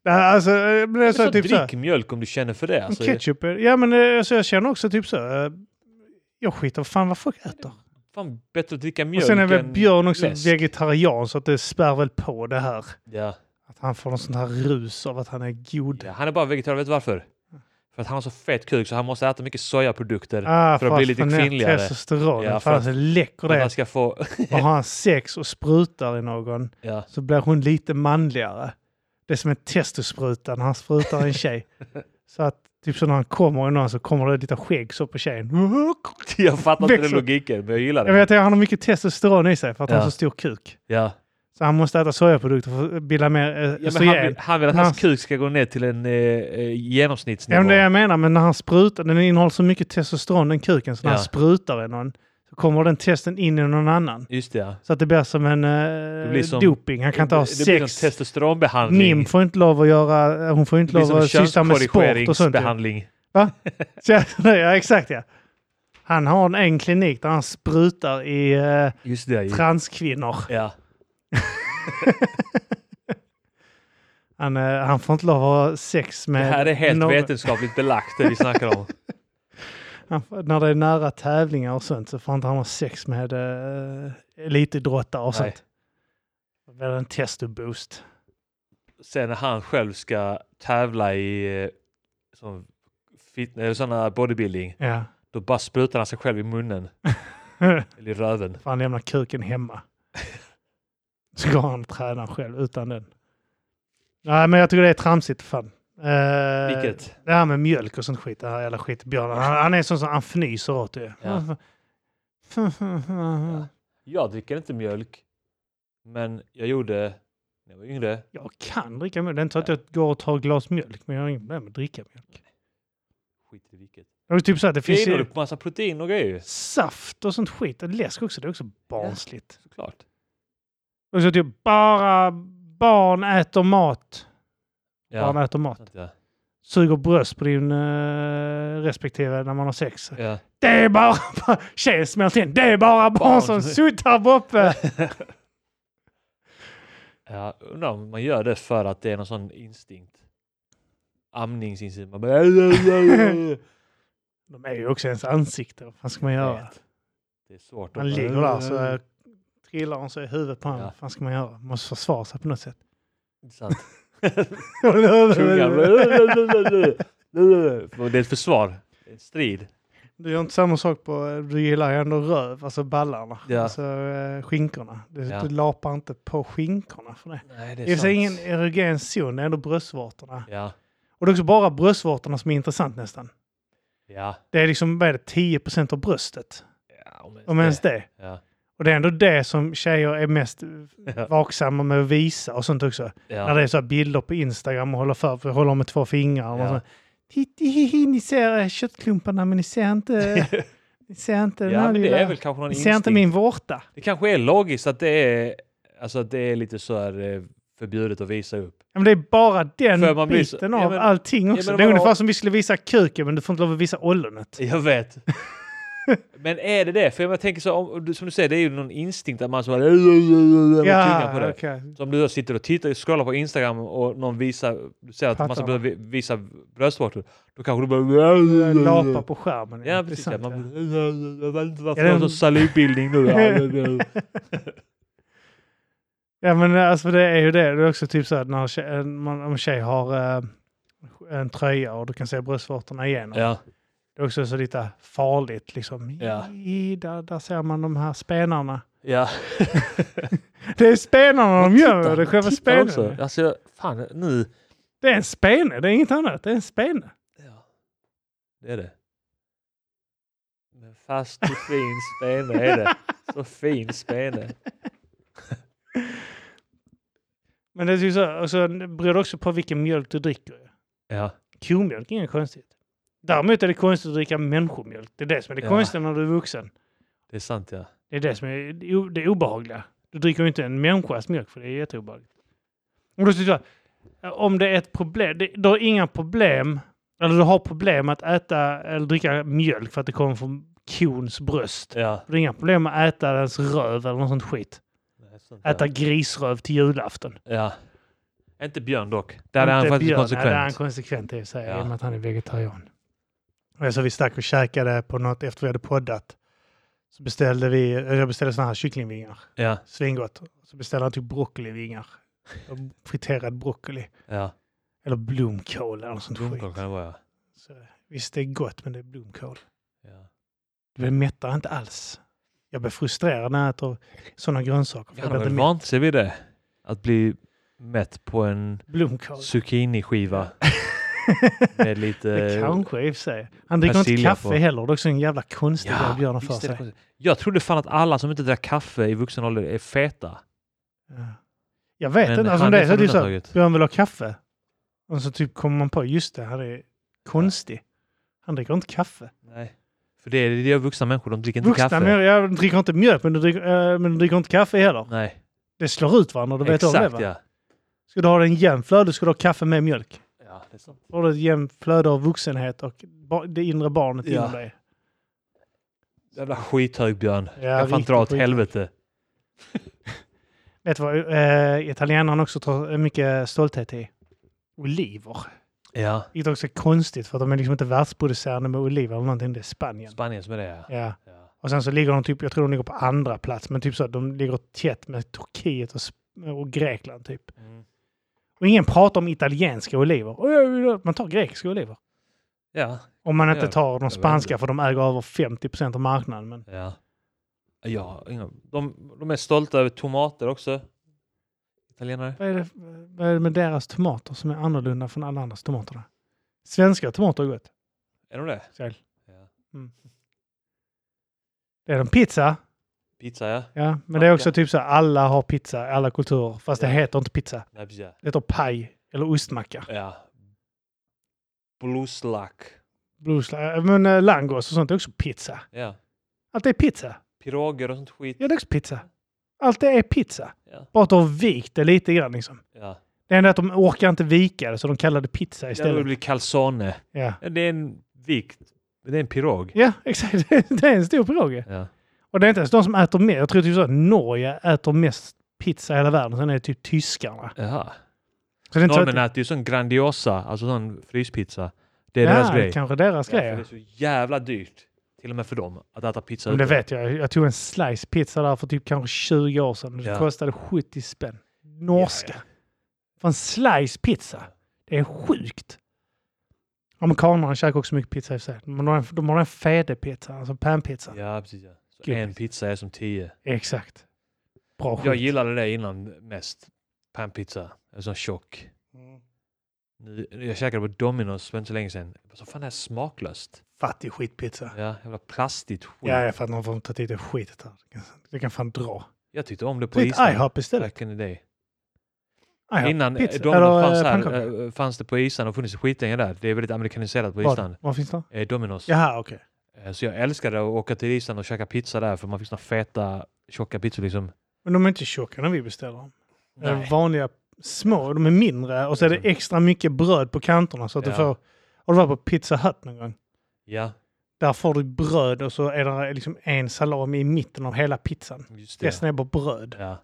Speaker 2: Det här, Alltså, eh, men det är så,
Speaker 1: Så
Speaker 2: typ så här.
Speaker 1: drick mjölk om du känner för det. Alltså,
Speaker 2: Ketchup, är- ja men eh, alltså, jag känner också typ så. eh, Jag skiter fan vad folk äter.
Speaker 1: fan bättre att dricka
Speaker 2: Och
Speaker 1: mjölk
Speaker 2: sen är väl
Speaker 1: än
Speaker 2: Björn också
Speaker 1: läsk.
Speaker 2: vegetarian så att det spär väl på det här.
Speaker 1: Ja.
Speaker 2: Att han får någon sån här rus av att han är god.
Speaker 1: Ja, han är bara vegetarian, vet du varför? För att han har så fet kuk så han måste äta mycket sojaprodukter.
Speaker 2: Ah,
Speaker 1: för att bli lite
Speaker 2: få ner
Speaker 1: kvinnligare.
Speaker 2: Testosteron.
Speaker 1: Ja, för
Speaker 2: fan
Speaker 1: att-
Speaker 2: så läcker
Speaker 1: för att
Speaker 2: det.
Speaker 1: han ska få...
Speaker 2: Och har han sex och sprutar i någon
Speaker 1: Ja.
Speaker 2: så blir hon lite manligare. Det är som en testospruta när han sprutar i en tjej. Så att typ så när han kommer i någon så kommer det lite skägg så på tjejen.
Speaker 1: Jag fattar inte den
Speaker 2: Växel.
Speaker 1: logiken, men jag gillar
Speaker 2: Jag
Speaker 1: det.
Speaker 2: vet att han har mycket testosteron i sig för att han
Speaker 1: Ja.
Speaker 2: har så stor kuk.
Speaker 1: Ja.
Speaker 2: Så han måste äta sojaprodukter för att bilda mer eh,
Speaker 1: Ja, men han,
Speaker 2: östrogen.
Speaker 1: vill, han vill att
Speaker 2: Men
Speaker 1: hans
Speaker 2: han-
Speaker 1: kuk ska gå ner till en eh, eh,
Speaker 2: Ja,
Speaker 1: genomsnittsnivå.
Speaker 2: men det är det jag menar, men när han sprutar, den innehåller så mycket testosteron den kuken, så när
Speaker 1: Ja.
Speaker 2: han sprutar i någon så kommer den testen in i någon annan.
Speaker 1: Just det, ja.
Speaker 2: Så att det blir som en eh,
Speaker 1: blir som-
Speaker 2: doping. Han kan inte ha
Speaker 1: det, det blir en
Speaker 2: sex.
Speaker 1: testosteronbehandling.
Speaker 2: Nim får inte lov att göra, eh, hon får
Speaker 1: Det
Speaker 2: inte
Speaker 1: blir
Speaker 2: lov
Speaker 1: som en
Speaker 2: att syssla med sport och sånt. ju.
Speaker 1: könskorrigeringsbehandling.
Speaker 2: Så, jag- ja, exakt ja. Han har en, en klinik där han sprutar i eh,
Speaker 1: Just det, ja.
Speaker 2: transkvinnor.
Speaker 1: ja.
Speaker 2: Han, eh, han får inte lov att ha sex
Speaker 1: Det
Speaker 2: med...
Speaker 1: här är helt
Speaker 2: någon-
Speaker 1: vetenskapligt belagt, det vi snackar om.
Speaker 2: Han får- När det är nära tävlingar och sånt så får inte han ha sex med uh, elitidrottare och
Speaker 1: Nej.
Speaker 2: sånt. Då blir det en testoboost.
Speaker 1: Sen när han själv ska tävla i eh, sån fit, eller sån här bodybuilding,
Speaker 2: Ja.
Speaker 1: då bara sprutar han sig själv i munnen, eller i röven.
Speaker 2: För han lämnar kuken hemma. Så går han och tränar själv utan den. Nej, men jag tycker det är tramsigt fan. Eh,
Speaker 1: Vilket?
Speaker 2: Det här med mjölk och sånt skit. Det här jävla skit. Björn, han, han är sån som han fnyser åt det.
Speaker 1: Ja. Jag dricker inte mjölk, men jag gjorde, när jag var yngre,
Speaker 2: Jag kan dricka mjölk. Det är inte så att jag går och tar ett glas mjölk, men jag har inget problem med att dricka mjölk.
Speaker 1: skit i vilket.
Speaker 2: Det är typ så att det
Speaker 1: Det
Speaker 2: finns...
Speaker 1: innehåller massa protein och grejer,
Speaker 2: saft och sånt skit. Och läsk också, det är också barnsligt.
Speaker 1: såklart.
Speaker 2: Och så typ bara barn äter mat.
Speaker 1: Ja,
Speaker 2: Barn äter mat.
Speaker 1: sant, ja.
Speaker 2: Suger bröst på din eh, respektive när man har sex.
Speaker 1: ja.
Speaker 2: Det är bara... Tjejen smäller till. Det är bara barn,
Speaker 1: Barn.
Speaker 2: som suttar på uppe.
Speaker 1: Ja, undrar om man gör det för att det är någon sån instinkt. Amningsinstinkt. Man bara... Vet.
Speaker 2: De är ju också ens ansikte. Vad fan ska man göra?
Speaker 1: Det är svårt. att
Speaker 2: Man
Speaker 1: bara-
Speaker 2: ligger där så eh, trillar hon så i huvudet på honom.
Speaker 1: Ja.
Speaker 2: Vad fan ska man göra? Man måste försvara sig på något sätt.
Speaker 1: Sant. Tungan.
Speaker 2: Tungan.
Speaker 1: Det är ett försvar. En strid.
Speaker 2: Du gör inte samma sak på, du gillar ju ändå röv, alltså ballarna,
Speaker 1: Ja.
Speaker 2: alltså eh, skinkorna. Du,
Speaker 1: Ja.
Speaker 2: du lapar inte på skinkorna för det.
Speaker 1: Nej,
Speaker 2: Det är, det är ingen erogen zon, det är ändå bröstvårtorna.
Speaker 1: Ja.
Speaker 2: Och det är också bara bröstvårtorna som är intressant nästan.
Speaker 1: Ja.
Speaker 2: Det är liksom, vad är det, 10 av bröstet?
Speaker 1: ja
Speaker 2: Om ens det.
Speaker 1: Ja.
Speaker 2: Och det är ändå det som tjejer är mest
Speaker 1: Ja.
Speaker 2: vaksamma med att visa och sånt också. När
Speaker 1: Ja.
Speaker 2: det är så här bilder på Instagram och håller för, för håller med två fingrar. Och
Speaker 1: Ja.
Speaker 2: så, Titti, hihi, ni ser eh, köttklumparna men ni ser inte... Ni ser inte den
Speaker 1: ja,
Speaker 2: här
Speaker 1: men det
Speaker 2: lilla-
Speaker 1: är väl kanske någon
Speaker 2: Ni ser inte
Speaker 1: instinkt.
Speaker 2: min vårta.
Speaker 1: Det kanske är logiskt att det är, alltså att det är lite så här eh, förbjudet att visa upp.
Speaker 2: Ja, Men det är bara den
Speaker 1: För man blir så-
Speaker 2: biten
Speaker 1: Ja,
Speaker 2: av
Speaker 1: men-
Speaker 2: allting också.
Speaker 1: men
Speaker 2: det är
Speaker 1: vadå?
Speaker 2: ungefär som vi skulle visa kuken men du får inte lov att visa ollonet.
Speaker 1: Jag vet. Men är det det? För jag tänker så, om, du- som du säger, det är ju någon instinkt att man så här, med tungan på det.
Speaker 2: okej.
Speaker 1: Så om du då sitter och tittar, scrollar på Instagram och någon visar, du ser att
Speaker 2: Pattarna.
Speaker 1: massa bröder vi- visar bröstvårtor, då kanske du bara...
Speaker 2: Lapa på skärmen.
Speaker 1: Ja,
Speaker 2: det är
Speaker 1: precis.
Speaker 2: sant,
Speaker 1: ja.
Speaker 2: ja.
Speaker 1: Man, jag vet inte varför
Speaker 2: Är det
Speaker 1: det är
Speaker 2: en-
Speaker 1: så salivbildning nu.
Speaker 2: Ja men alltså det är ju det. Det är också typ så att när tje- en- man- om en tjej har eh, en tröja och du kan se bröstvårtorna igenom.
Speaker 1: ja,
Speaker 2: Det är också så lite farligt liksom.
Speaker 1: Ja.
Speaker 2: I, där, där ser man de här spenarna.
Speaker 1: ja.
Speaker 2: Det är spenarna de gör. Det är själva
Speaker 1: Tittar också.
Speaker 2: spenen.
Speaker 1: Alltså, jag- fan nu.
Speaker 2: Det är en spene. Det är inget annat. Det är en spene.
Speaker 1: Ja. Det är det. Men fast och fin spene är det. Så fin spene.
Speaker 2: Men det är ju så, och så beror det också på vilken mjölk du dricker.
Speaker 1: Ja,
Speaker 2: Komjölk är inget konstigt. Däremot är det konstigt att dricka människomjölk. Det är det som är det
Speaker 1: Ja.
Speaker 2: konstiga när du är vuxen.
Speaker 1: Det är sant ja.
Speaker 2: Det är det som är o- det obehagliga. Du dricker ju inte en människas mjölk för det är jätteobehagligt. Och då tycker jag, eh, om det är ett problem, det, du har inga problem, eller du har problem att äta eller dricka mjölk för att det kommer från kons bröst.
Speaker 1: ja.
Speaker 2: Du har inga problem att äta dens röv eller något sånt skit.
Speaker 1: Det är sant,
Speaker 2: Äta
Speaker 1: ja.
Speaker 2: grisröv till julafton.
Speaker 1: ja. Inte Björn dock. Där är han
Speaker 2: Inte
Speaker 1: faktiskt
Speaker 2: björn.
Speaker 1: konsekvent.
Speaker 2: Ja, det är han konsekvent i sig,
Speaker 1: Ja.
Speaker 2: i och med att han är vegetarian. Och så vi stack och käkade på något efter vi hade poddat. Så beställde vi, jag beställde sådana här kycklingvingar.
Speaker 1: Ja,
Speaker 2: Svingott. Så beställde han typ broccolivingar. Och Friterad broccoli.
Speaker 1: ja.
Speaker 2: Eller blomkål eller något sånt
Speaker 1: Dunkor
Speaker 2: skit.
Speaker 1: kan det vara ja.
Speaker 2: Så, visst, det är gott, men det är blomkål.
Speaker 1: ja.
Speaker 2: Det mättar inte alls. Jag blir frustrerad när jag äter sådana grönsaker. för
Speaker 1: Han har
Speaker 2: Jag blir
Speaker 1: väl
Speaker 2: inte mätt.
Speaker 1: vant sig vid det. Att bli mätt på en
Speaker 2: Blomkål.
Speaker 1: zucchiniskiva med lite...
Speaker 2: det kanske i och för sig. Han dricker inte
Speaker 1: persilja
Speaker 2: kaffe
Speaker 1: på.
Speaker 2: heller. Det är också en jävla konstig grej Björn har
Speaker 1: visst
Speaker 2: för
Speaker 1: är det
Speaker 2: sig.
Speaker 1: konstigt. Jag trodde fan att alla som inte drack kaffe i vuxen ålder är feta.
Speaker 2: Ja. Jag vet
Speaker 1: Men
Speaker 2: inte. Alltså,
Speaker 1: han
Speaker 2: om det
Speaker 1: är
Speaker 2: är så är det ju så. här,
Speaker 1: undantaget.
Speaker 2: Björn vill ha kaffe. Och så typ kommer man på, just det, han är konstig. Han dricker inte kaffe.
Speaker 1: Nej. För det är det gör vuxna människor, de dricker inte
Speaker 2: Vuxna
Speaker 1: kaffe.
Speaker 2: människor, jag dricker inte mjölk men du dricker, eh, men du dricker inte kaffe heller.
Speaker 1: Nej,
Speaker 2: Det slår ut varandra, du vet om
Speaker 1: exakt
Speaker 2: det va?
Speaker 1: ja.
Speaker 2: Ska du ha en jämn flöde ska du ha kaffe med mjölk.
Speaker 1: ja det är sant.
Speaker 2: Då har du ett jämnt flöde av vuxenhet och ba- det inre barnet
Speaker 1: Ja.
Speaker 2: inom dig.
Speaker 1: Jävla skithög Björn.
Speaker 2: Ja,
Speaker 1: jag fan
Speaker 2: riktigt
Speaker 1: dra åt
Speaker 2: skit.
Speaker 1: helvete.
Speaker 2: Vet du vad eh, italienarna också tar mycket stolthet i? Oliver.
Speaker 1: Ja,
Speaker 2: Vilket också är konstigt för att de är liksom inte världsproducerande med oliver eller någonting. Det är Spanien.
Speaker 1: Spanien som är det ja.
Speaker 2: Ja.
Speaker 1: ja.
Speaker 2: Och sen så ligger de typ, jag tror de ligger på andra plats, men typ så att de ligger tätt med Turkiet och, Sp- och Grekland typ.
Speaker 1: Mm.
Speaker 2: Och ingen pratar om italienska oliver. Oj, oj, oj, Man tar grekiska oliver.
Speaker 1: Ja,
Speaker 2: Om man inte
Speaker 1: Ja,
Speaker 2: tar de
Speaker 1: vet
Speaker 2: spanska
Speaker 1: inte.
Speaker 2: för de äger över 50 procent av marknaden. Men
Speaker 1: ja. ja inga- de, de är stolta över tomater också. Italienare.
Speaker 2: vad är, det, vad är det med deras tomater som är annorlunda från alla andras tomater? då? Svenska tomater är gott.
Speaker 1: Är de det?
Speaker 2: Säl.
Speaker 1: Ja.
Speaker 2: Det är en pizza,
Speaker 1: Pizza ja.
Speaker 2: ja. Men det är också typ så här, alla har pizza, alla kulturer. Fast det
Speaker 1: Ja.
Speaker 2: heter inte pizza.
Speaker 1: Nej, precis, ja.
Speaker 2: Det heter paj eller ostmacka.
Speaker 1: ja. Bluslack.
Speaker 2: Bluesla, men eh, langos och sånt är också pizza.
Speaker 1: Ja.
Speaker 2: Allt är pizza.
Speaker 1: Piroger och sånt skit.
Speaker 2: Ja, det är också pizza. Allt det är pizza.
Speaker 1: Ja.
Speaker 2: Bara att de har vikt det lite grann liksom.
Speaker 1: Ja.
Speaker 2: Det enda är att de orkar inte vika det, så de kallade det pizza
Speaker 1: Ja, det
Speaker 2: istället.
Speaker 1: blir calzone.
Speaker 2: Ja,
Speaker 1: Ja, Det är en vikt. Det är en pirog.
Speaker 2: ja exakt. Det är en stor fråga.
Speaker 1: Ja.
Speaker 2: Och det är inte ens de som äter mer. Jag tror typ så att Norge äter mest pizza i hela världen. Sen är det typ tyskarna.
Speaker 1: Jaha.
Speaker 2: Så det är inte så
Speaker 1: Norrmännen
Speaker 2: att,
Speaker 1: äter ju sån Grandiosa, alltså sån fryspizza. Det är
Speaker 2: ja,
Speaker 1: deras
Speaker 2: det
Speaker 1: grej.
Speaker 2: är kanske deras
Speaker 1: Ja, för
Speaker 2: grej.
Speaker 1: det är så jävla dyrt. Till och med för dem att äta pizza
Speaker 2: Men det
Speaker 1: ute.
Speaker 2: vet jag. Jag tog en slice pizza där för typ kanske 20 år sedan. Det
Speaker 1: Ja.
Speaker 2: kostade 70 spänn. Norska.
Speaker 1: Ja,
Speaker 2: För en slice pizza. Det är sjukt. Amerikanerna käkar också mycket pizza i och för sig. Men de har en, de har en fedepizza, alltså panpizza.
Speaker 1: ja. ja, precis. Ja. Så
Speaker 2: Gud.
Speaker 1: en pizza är som tio.
Speaker 2: Exakt. Bra skit.
Speaker 1: Jag gillade det innan mest. Panpizza. En sån tjock. Nu- Jag käkade på Domino's för inte så länge sedan. Så fan det här är smaklöst.
Speaker 2: Fattig skitpizza.
Speaker 1: Ja, jävla plastigt skit.
Speaker 2: Ja, jag fattar. Någon får ta dit det skitet här. Det kan- Det kan fan dra.
Speaker 1: Jag tyckte om det på
Speaker 2: Ta dit
Speaker 1: Island.
Speaker 2: IHOP istället.
Speaker 1: Back in the day.
Speaker 2: IHOP.
Speaker 1: Innan eh,
Speaker 2: Ah, pizza.
Speaker 1: Domino's
Speaker 2: Eller,
Speaker 1: fanns,
Speaker 2: eh,
Speaker 1: här,
Speaker 2: pannkaka.
Speaker 1: eh, fanns det på Island och funnits skitlänge där. Det är väldigt amerikaniserat på Island.
Speaker 2: Vad, vad finns det?
Speaker 1: Eh, Domino's.
Speaker 2: Jaha, okej.
Speaker 1: Eh, Så jag älskade att åka till Island och käka pizza där för man fick såna feta tjocka pizzor liksom.
Speaker 2: Men de är inte tjocka när vi beställer dem. Det är
Speaker 1: Nej. Liksom.
Speaker 2: Vanliga små. De är mindre och så är det extra mycket bröd på kanterna så att
Speaker 1: Ja.
Speaker 2: du får... Har du varit på Pizza Hut någon gång?
Speaker 1: Ja,
Speaker 2: Där får du bröd och så är det liksom en salami i mitten av hela pizzan.
Speaker 1: just det.
Speaker 2: Resten är bara bröd.
Speaker 1: Ja,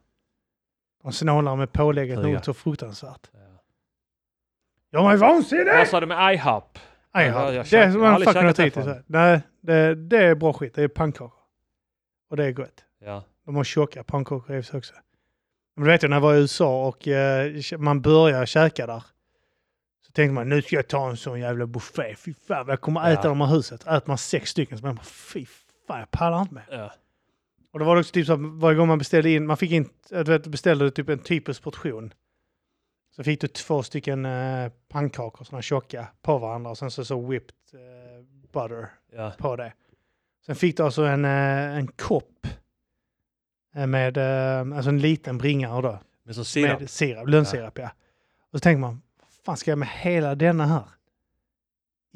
Speaker 2: De snålar med pålägget
Speaker 1: Föga.
Speaker 2: något så fruktansvärt.
Speaker 1: ja.
Speaker 2: Jag var ju vansinnig!
Speaker 1: Vad sa du med IHOP?
Speaker 2: Nej,
Speaker 1: Ja,
Speaker 2: jag,
Speaker 1: jag
Speaker 2: det
Speaker 1: käkar-
Speaker 2: är som
Speaker 1: jag har
Speaker 2: man
Speaker 1: aldrig
Speaker 2: fucking har
Speaker 1: käkat
Speaker 2: tid
Speaker 1: därifrån.
Speaker 2: till. Nej, det, det är bra skit. Det är pannkakor. Och det är gott.
Speaker 1: Ja,
Speaker 2: De har tjocka pannkakor i och för sig också. Men du vet ju, när jag var i USA och eh, man började käka där. Så tänkte man, nu ska jag ta en sån jävla buffé. Fy fan, jag kommer
Speaker 1: Ja.
Speaker 2: äta de här huset. Äter man sex stycken så man bara, fy fan, jag pallar inte med.
Speaker 1: ja,
Speaker 2: Och det var också typ så att varje gång man beställde in, man fick in, du vet, beställde typ en typisk portion. Så fick du två stycken eh, pannkakor, sådana tjocka, på varandra och sen så, så whipped eh, butter
Speaker 1: ja.
Speaker 2: på det. Sen fick du alltså en, eh, en kopp eh, med, eh, alltså en liten bringare då,
Speaker 1: Men så sirap.
Speaker 2: med sirap, lönnsirap ja. Och så tänker man, vad fan ska jag med hela denna här?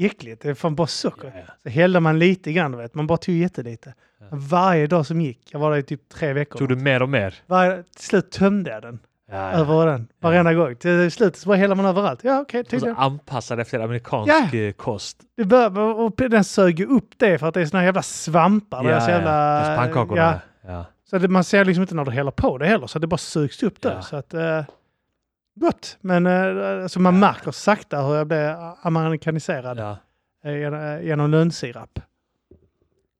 Speaker 2: äckligt. Det är fan bara socker.
Speaker 1: Ja, ja.
Speaker 2: Så hällde man lite grann, du vet. Man bara tog jättelite.
Speaker 1: Ja.
Speaker 2: Varje dag som gick, jag var där i typ tre veckor.
Speaker 1: Tog du mer och mer?
Speaker 2: Varje, till slut tömde jag den.
Speaker 1: Ja, Alltså,
Speaker 2: Över den. Varenda gång. Till slut så bara häller man överallt. Ja, okej,
Speaker 1: Och så
Speaker 2: tydligen.
Speaker 1: anpassad efter amerikansk eh, kost.
Speaker 2: Det bör, och den sög ju upp det för att det är såna jävla svampar. det är så alltså jävla...
Speaker 1: Just pannkakorna.
Speaker 2: Ja,
Speaker 1: Ja.
Speaker 2: så det, man ser liksom inte när du häller på det heller, så det bara sugs upp där.
Speaker 1: Ja.
Speaker 2: Så att, eh, gott, men eh, alltså man märker sakta hur jag blir amerikaniserad
Speaker 1: Ja.
Speaker 2: eh, gen- genom lönnsirap.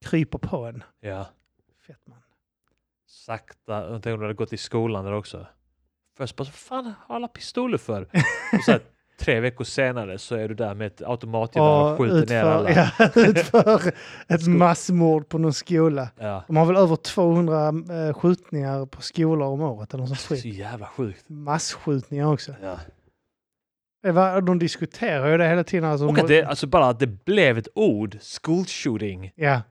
Speaker 2: Kryper på en.
Speaker 1: ja.
Speaker 2: Fett man.
Speaker 1: Sakta. Jag tänkte om du hade gått i skolan där också. Först bara, vad fan har alla pistoler för? Och så här, tre veckor senare så är du där med ett automatgevär och
Speaker 2: Och
Speaker 1: skjuter Typ ner alla.
Speaker 2: utför, ja, utför ett massmord på någon skola.
Speaker 1: Ja.
Speaker 2: De har väl över 200 eh, skjutningar på skolor om året eller något sånt
Speaker 1: Så
Speaker 2: skit.
Speaker 1: jävla sjukt.
Speaker 2: Masskjutningar också.
Speaker 1: Ja.
Speaker 2: Det var, de diskuterar ju det hela tiden. Alltså,
Speaker 1: Och att det, alltså bara att det blev ett ord, school shooting.
Speaker 2: Ja,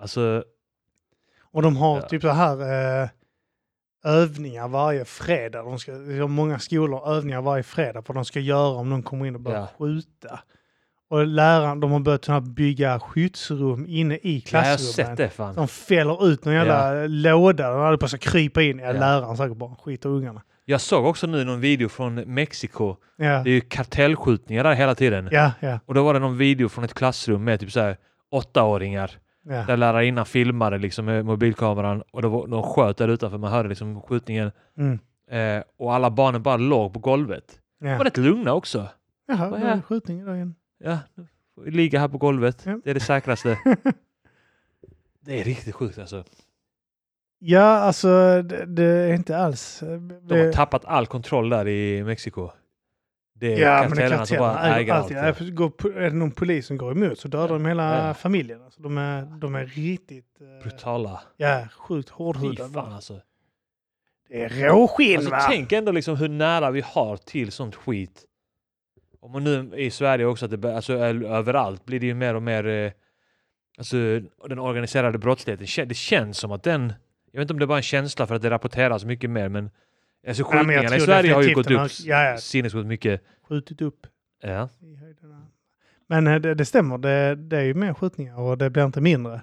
Speaker 1: Alltså,
Speaker 2: och de har
Speaker 1: Ja.
Speaker 2: typ så här eh, övningar varje fredag. De ska, de har många skolor har övningar varje fredag på vad de ska göra om någon kommer in och börjar
Speaker 1: Ja.
Speaker 2: skjuta. Och läraren, de har börjat så här bygga skyddsrum inne i
Speaker 1: jag har sett
Speaker 2: klassrummen.
Speaker 1: det fan.
Speaker 2: de fäller ut någon jävla låda. De hade på sig att krypa in. Ja,
Speaker 1: Ja.
Speaker 2: Läraren säkert bara skiter i ungarna.
Speaker 1: Jag såg också nu någon video från Mexiko.
Speaker 2: Ja,
Speaker 1: Det är ju kartellskjutningar där hela tiden.
Speaker 2: ja, ja.
Speaker 1: Och då var det någon video från ett klassrum med typ så här åttaåringar.
Speaker 2: ja.
Speaker 1: Där lärarinnan filmade liksom med mobilkameran och det var, de sköt där utanför. Man hörde liksom skjutningen.
Speaker 2: Mm.
Speaker 1: Eh, och alla barnen bara låg på golvet. De var
Speaker 2: ja.
Speaker 1: rätt lugna också.
Speaker 2: Jaha,
Speaker 1: Vad
Speaker 2: det
Speaker 1: är-
Speaker 2: var skjutning idag igen.
Speaker 1: Ja, nu får vi ligga här på golvet.
Speaker 2: Ja.
Speaker 1: Det är det säkraste. det är riktigt sjukt alltså.
Speaker 2: Ja, alltså det, det är inte alls... eh,
Speaker 1: De har
Speaker 2: det-
Speaker 1: tappat all kontroll där i Mexiko. Det är
Speaker 2: Ja, men det är
Speaker 1: kartellerna
Speaker 2: klart.
Speaker 1: som alltså bara äger allt.
Speaker 2: Ja, går, po- är det någon polis som går emot så dödar de hela
Speaker 1: Ja.
Speaker 2: familjen. Alltså, de, är, de är riktigt... eh,
Speaker 1: Brutala.
Speaker 2: Ja, sjukt
Speaker 1: Fy
Speaker 2: hårdhudade.
Speaker 1: fan alltså.
Speaker 2: Det är råskinn
Speaker 1: Alltså,
Speaker 2: va?
Speaker 1: tänk ändå liksom hur nära vi har till sånt skit. Om man nu i Sverige också, att det, bör- alltså, ö- överallt blir det ju mer och mer eh, alltså, den organiserade brottsligheten. Kä- Det känns som att den, jag vet inte om det är bara en känsla för att det rapporteras mycket mer, men alltså,
Speaker 2: men jag
Speaker 1: skjutningarna i
Speaker 2: tror
Speaker 1: Sverige har ju gått
Speaker 2: definitivt
Speaker 1: upp
Speaker 2: den har- ja, ja.
Speaker 1: sinnessjukt mycket.
Speaker 2: Skjutit upp
Speaker 1: Ja.
Speaker 2: i höjderna. Men eh, det, det stämmer, det, det är ju mer skjutningar och det blir inte mindre.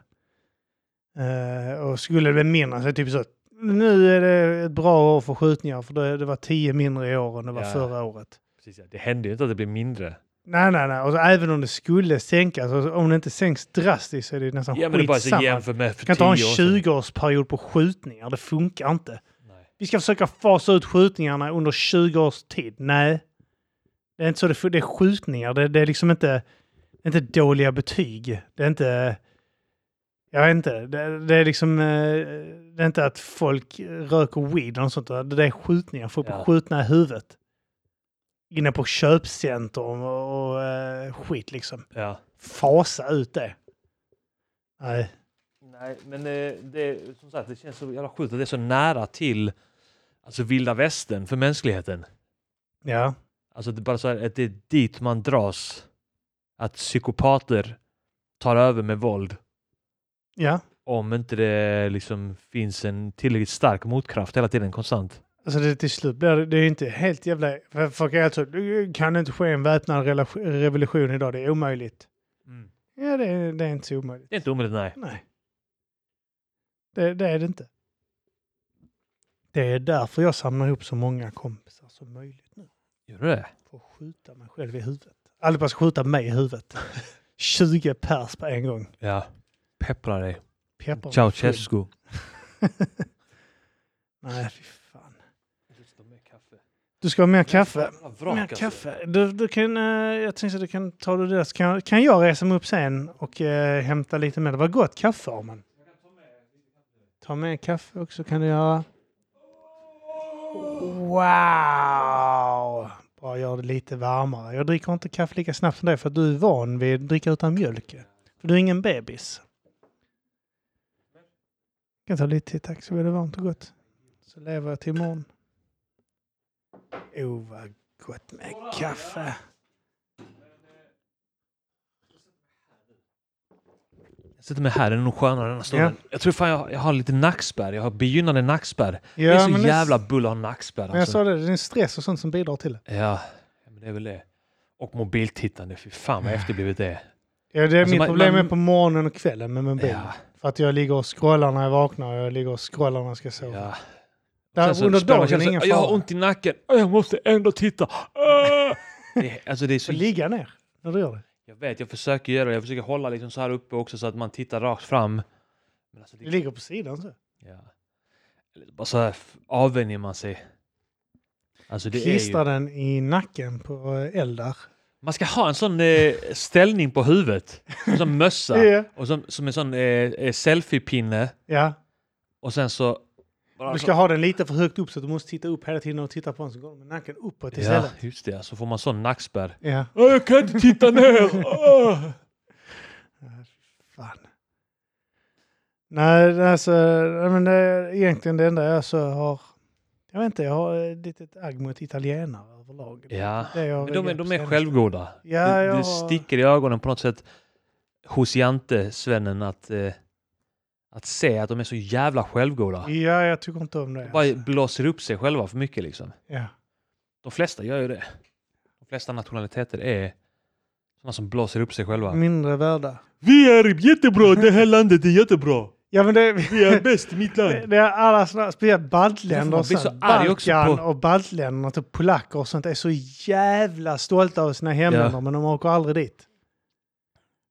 Speaker 2: Eh, och skulle det bli mindre så är det typ så att nu är det ett bra år för skjutningar för det, det var tio mindre i år än det var
Speaker 1: Ja.
Speaker 2: förra året.
Speaker 1: Precis, ja. Det händer ju inte att det blir mindre.
Speaker 2: Nej, nej, nej. Och så, även om det skulle sänkas, alltså, om det inte sänks drastiskt så är det ju nästan
Speaker 1: Ja, men det är bara så
Speaker 2: skitsamma.
Speaker 1: jämför med för
Speaker 2: Vi kan inte ha en
Speaker 1: 10 år
Speaker 2: 20-årsperiod på skjutningar, det funkar inte.
Speaker 1: sedan.
Speaker 2: Vi ska försöka fasa ut skjutningarna under 20 års tid. Nej. Det är inte så det fun- Det är skjutningar. Det, det är liksom inte, inte dåliga betyg. Det är inte... Jag vet inte. Det, det är liksom... eh, Det är inte att folk röker weed eller något sånt. där. Det är skjutningar. Folk blir
Speaker 1: Ja.
Speaker 2: skjutna i huvudet. Inne på köpcentrum och, och eh, skit liksom.
Speaker 1: Ja.
Speaker 2: Fasa ut det. Nej.
Speaker 1: Nej, men eh, det, som sagt, det känns så jävla sjukt att det är så nära till alltså, vilda västern för mänskligheten.
Speaker 2: Ja.
Speaker 1: Alltså det är bara så här, att det är dit man dras. Att psykopater tar över med våld
Speaker 2: Ja.
Speaker 1: om inte det liksom finns en tillräckligt stark motkraft hela tiden konstant.
Speaker 2: Alltså det, till slut blir det, det är ju inte helt jävla... För folk är alltså, "Det kan inte ske en väpnad relation- revolution idag, det är omöjligt.
Speaker 1: Mm.
Speaker 2: Ja, det, är- det är inte så omöjligt.
Speaker 1: Det är inte omöjligt, nej.
Speaker 2: Nej. Det, det är det inte. Det är därför jag samlar ihop så många kompisar som möjligt nu.
Speaker 1: Gör du det?
Speaker 2: För att skjuta mig själv i huvudet. Allihopa ska skjuta mig i huvudet. 20 pers på en gång.
Speaker 1: Ja. Peppra dig.
Speaker 2: Peppar
Speaker 1: Ciao
Speaker 2: mig full.
Speaker 1: Ceausescu.
Speaker 2: Nej, fy fan. Du ska ha mer kaffe. Mer kaffe. Du, du kan, eh, jag tänkte att du kan ta det där så kan, kan jag resa mig upp sen och eh, hämta lite mer. Det var gott kaffe Arman. Ta med kaffe också kan du göra. Wow! Bara gör det lite varmare. Jag dricker inte kaffe lika snabbt som dig för att du är van vid att dricka utan mjölk. För du är ingen bebis. Jag kan ta lite till tack så blir det varmt och gott. Så lever jag till imorgon. Oh, vad gott med kaffe.
Speaker 1: Jag sätter mig här, det är nog skönare den här stunden. Jag tror fan jag, jag har lite nackspärr. Jag har begynnande nackspärr.
Speaker 2: Ja,
Speaker 1: det är så
Speaker 2: men det-
Speaker 1: jävla bull att ha nackspärr
Speaker 2: Men jag
Speaker 1: alltså.
Speaker 2: sa det, det är stress och sånt som bidrar till det.
Speaker 1: Ja, men det är väl det. Och mobiltittande, fy fan vad efterblivet det är.
Speaker 2: Ja, det är
Speaker 1: Alltså,
Speaker 2: mitt
Speaker 1: man-
Speaker 2: problem
Speaker 1: man-
Speaker 2: är på morgonen och kvällen med mobilen.
Speaker 1: Ja,
Speaker 2: För att jag ligger och scrollar när jag vaknar och jag ligger och scrollar när jag ska sova.
Speaker 1: ja.
Speaker 2: Där,
Speaker 1: Sen så
Speaker 2: under
Speaker 1: spelar man
Speaker 2: dagen
Speaker 1: Alltså, sig
Speaker 2: är
Speaker 1: så-
Speaker 2: ingen
Speaker 1: Jag har
Speaker 2: fara.
Speaker 1: ont i nacken, Åh, jag måste ändå titta. Ah! Det, är- alltså det är
Speaker 2: Så
Speaker 1: så
Speaker 2: ligga ner när du gör det.
Speaker 1: Jag vet, jag försöker göra det. Jag försöker hålla liksom så här uppe också så att man tittar rakt fram. Men alltså,
Speaker 2: Du
Speaker 1: det,
Speaker 2: ligger på sidan så.
Speaker 1: ja. Eller Bara så här f- avvänjer man sig. Alltså det är
Speaker 2: Klistra
Speaker 1: ju,
Speaker 2: den i nacken på eh, eldar.
Speaker 1: man ska ha en sån eh, ställning på huvudet. En sån mössa.
Speaker 2: Ja.
Speaker 1: och som, som en sån eh, eh, selfiepinne.
Speaker 2: Ja,
Speaker 1: Och sen så... Alltså-
Speaker 2: du ska ha den lite för högt upp så att du måste titta upp hela tiden och titta på den så går den med nacken uppåt
Speaker 1: ja,
Speaker 2: istället.
Speaker 1: just det. Så får man sån nackspärr.
Speaker 2: Ja. ja.
Speaker 1: Åh, jag kan inte titta ner! Åh!
Speaker 2: Fan. Nej, alltså, nej, men det är egentligen det enda jag så har... Jag vet inte, jag har eh, ett litet agg mot italienare överlag.
Speaker 1: Ja,
Speaker 2: Det jag
Speaker 1: men de, är-
Speaker 2: reagerat på
Speaker 1: de är
Speaker 2: senast.
Speaker 1: självgoda.
Speaker 2: Ja,
Speaker 1: det,
Speaker 2: jag
Speaker 1: det
Speaker 2: har-
Speaker 1: sticker i ögonen på något sätt hos Jante-svennen att, eh, att se att de är så jävla självgoda.
Speaker 2: Ja, jag tycker inte om det.
Speaker 1: De bara
Speaker 2: Alltså.
Speaker 1: blåser upp sig själva för mycket liksom.
Speaker 2: Ja.
Speaker 1: De flesta gör ju det. De flesta nationaliteter är sådana som blåser upp sig själva.
Speaker 2: Mindre värda.
Speaker 1: Vi är jättebra, det här landet är jättebra.
Speaker 2: Ja, men det,
Speaker 1: Vi är bäst i mitt land.
Speaker 2: det är alla sådana, speciellt
Speaker 1: Därför
Speaker 2: baltländer
Speaker 1: man
Speaker 2: och
Speaker 1: blir så
Speaker 2: sånt.
Speaker 1: arg också
Speaker 2: Balkan
Speaker 1: på-
Speaker 2: och baltländerna, typ polacker och sånt, är så jävla stolta över sina hemländer,
Speaker 1: Ja.
Speaker 2: men de åker aldrig dit.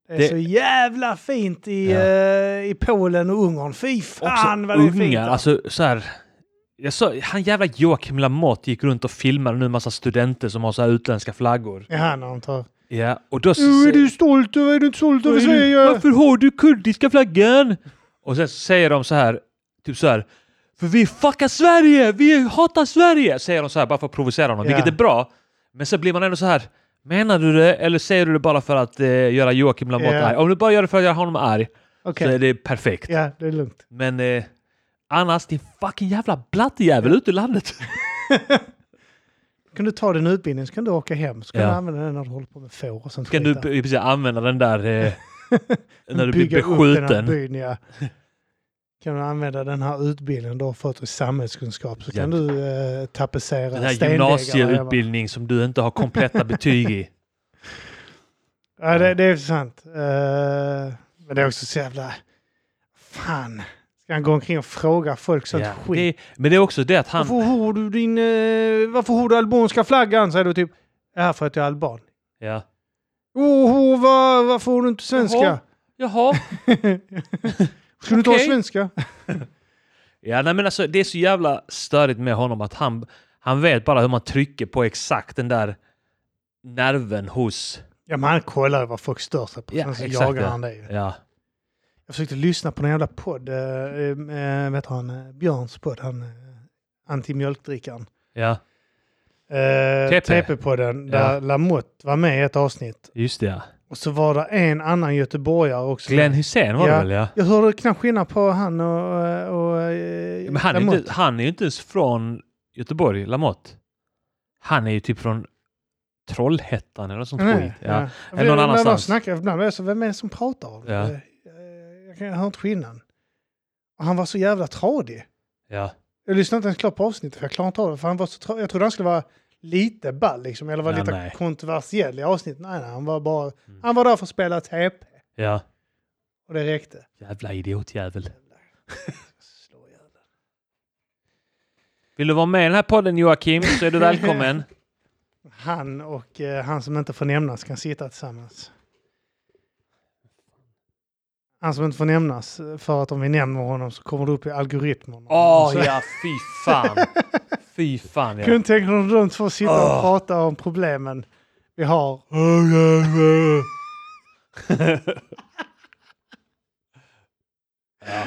Speaker 2: Det är
Speaker 1: Det-
Speaker 2: så jävla fint i,
Speaker 1: Ja.
Speaker 2: eh, i Polen och Ungern. Fy fan vad det är
Speaker 1: Också
Speaker 2: fint!
Speaker 1: ungar,
Speaker 2: där.
Speaker 1: alltså så här. Jag sa, han jävla Joakim Lamotte gick runt och filmade nu en massa studenter som har så här utländska flaggor.
Speaker 2: Ja, när de tar...
Speaker 1: Ja, och då...
Speaker 2: "Åh, Är du stolt? över- Är du inte stolt över
Speaker 1: Vad är du-
Speaker 2: Sverige?
Speaker 1: Varför har du kurdiska flaggan? Och sen så säger de så här, typ så här. För vi fuckar Sverige! Vi hatar Sverige! Säger de så här bara för att provocera honom,
Speaker 2: Ja.
Speaker 1: vilket är bra. Men så blir man ändå så här. Menar du det eller säger du det bara för att eh, göra Joakim Lamotte
Speaker 2: Ja.
Speaker 1: arg? Om du bara gör det för att göra honom arg
Speaker 2: Okej,
Speaker 1: så är det perfekt.
Speaker 2: ja, det är lugnt.
Speaker 1: Men eh, annars, din fucking jävla blattejävel ute i landet.
Speaker 2: Kan du ta din utbildning så kan du åka hem. Så kan
Speaker 1: Ja.
Speaker 2: du använda den när du håller på med får och sånt
Speaker 1: Kan du
Speaker 2: skit där.
Speaker 1: b- i princip använda den där eh, när du blir
Speaker 2: bygga upp den här
Speaker 1: beskjuten?
Speaker 2: byn, ja. Kan du använda den här utbildningen du har fått i samhällskunskap så kan
Speaker 1: Ja.
Speaker 2: du eh, tapetsera
Speaker 1: Den här
Speaker 2: stenväggar där hemma.
Speaker 1: gymnasieutbildning som du inte har kompletta betyg i.
Speaker 2: Ja, det, det är sant. Eh, men det är också så jävla... Fan. Ska han gå omkring och fråga folk sånt
Speaker 1: Ja,
Speaker 2: skit?
Speaker 1: det, men det är också det att han...
Speaker 2: Varför har du din... eh, varför har du albanska flaggan? Säger du typ. Ja, för att jag är alban.
Speaker 1: Ja.
Speaker 2: Oho, va, varför har du inte svenska?
Speaker 1: Jaha. Jaha.
Speaker 2: Ska du inte ha
Speaker 1: Okej.
Speaker 2: svenska?
Speaker 1: Ja, nej, men alltså, det är så jävla störigt med honom att han, han vet bara hur man trycker på exakt den där nerven hos...
Speaker 2: Ja, men han kollar ju vad folk stör sig på.
Speaker 1: Ja,
Speaker 2: Sen så
Speaker 1: exakt,
Speaker 2: jagar
Speaker 1: ja.
Speaker 2: han det ju.
Speaker 1: Ja.
Speaker 2: Jag försökte lyssna på någon jävla podd, eh, eh, vet han, eh, Björns podd, han eh, anti-mjölkdrickaren.
Speaker 1: Ja,
Speaker 2: Eh,
Speaker 1: TP.
Speaker 2: TP-podden, där
Speaker 1: Ja.
Speaker 2: Lamotte var med i ett avsnitt.
Speaker 1: just det. Ja.
Speaker 2: Och så var det en annan göteborgare också.
Speaker 1: Glenn Hussein var
Speaker 2: Ja.
Speaker 1: det väl? Ja.
Speaker 2: Jag hörde knappt skillnad på han och, eh, och eh,
Speaker 1: Men han är,
Speaker 2: Lamotte.
Speaker 1: inte, han är ju inte ens från Göteborg, Lamotte. Han är ju typ från Trollhättan eller något sånt skit.
Speaker 2: Nej,
Speaker 1: Ja. Eller
Speaker 2: För
Speaker 1: någon
Speaker 2: jag- När de
Speaker 1: annanstans.
Speaker 2: snackar ibland, jag så, vem är det som pratar? om det?
Speaker 1: Ja.
Speaker 2: Eh, Jag kan- jag hör inte skillnaden. Och han var så jävla tradig.
Speaker 1: Ja.
Speaker 2: Jag lyssnade inte ens klart på avsnittet för jag klarade inte av det. För han var så tra- jag trodde han skulle vara lite ball liksom, eller vara
Speaker 1: Ja,
Speaker 2: lite
Speaker 1: nej.
Speaker 2: kontroversiell i avsnittet. Nej, nej, han var bara...
Speaker 1: Mm.
Speaker 2: Han var där för att spela TP
Speaker 1: ja.
Speaker 2: och det räckte.
Speaker 1: Jävla idiotjävel.
Speaker 2: Slå ihjäl.
Speaker 1: Vill du vara med i den här podden Joakim så är du välkommen.
Speaker 2: Han och eh, han som inte får nämnas kan sitta tillsammans. Han som inte får nämnas, eh, för att om vi nämner honom så kommer det upp i algoritmerna.
Speaker 1: Åh
Speaker 2: Så-
Speaker 1: Ah, ja, fy fan. Fy fan ja. Ah.
Speaker 2: Kunde tänka dig om de två sitter och
Speaker 1: Åh.
Speaker 2: pratar om problemen vi har.
Speaker 1: ja.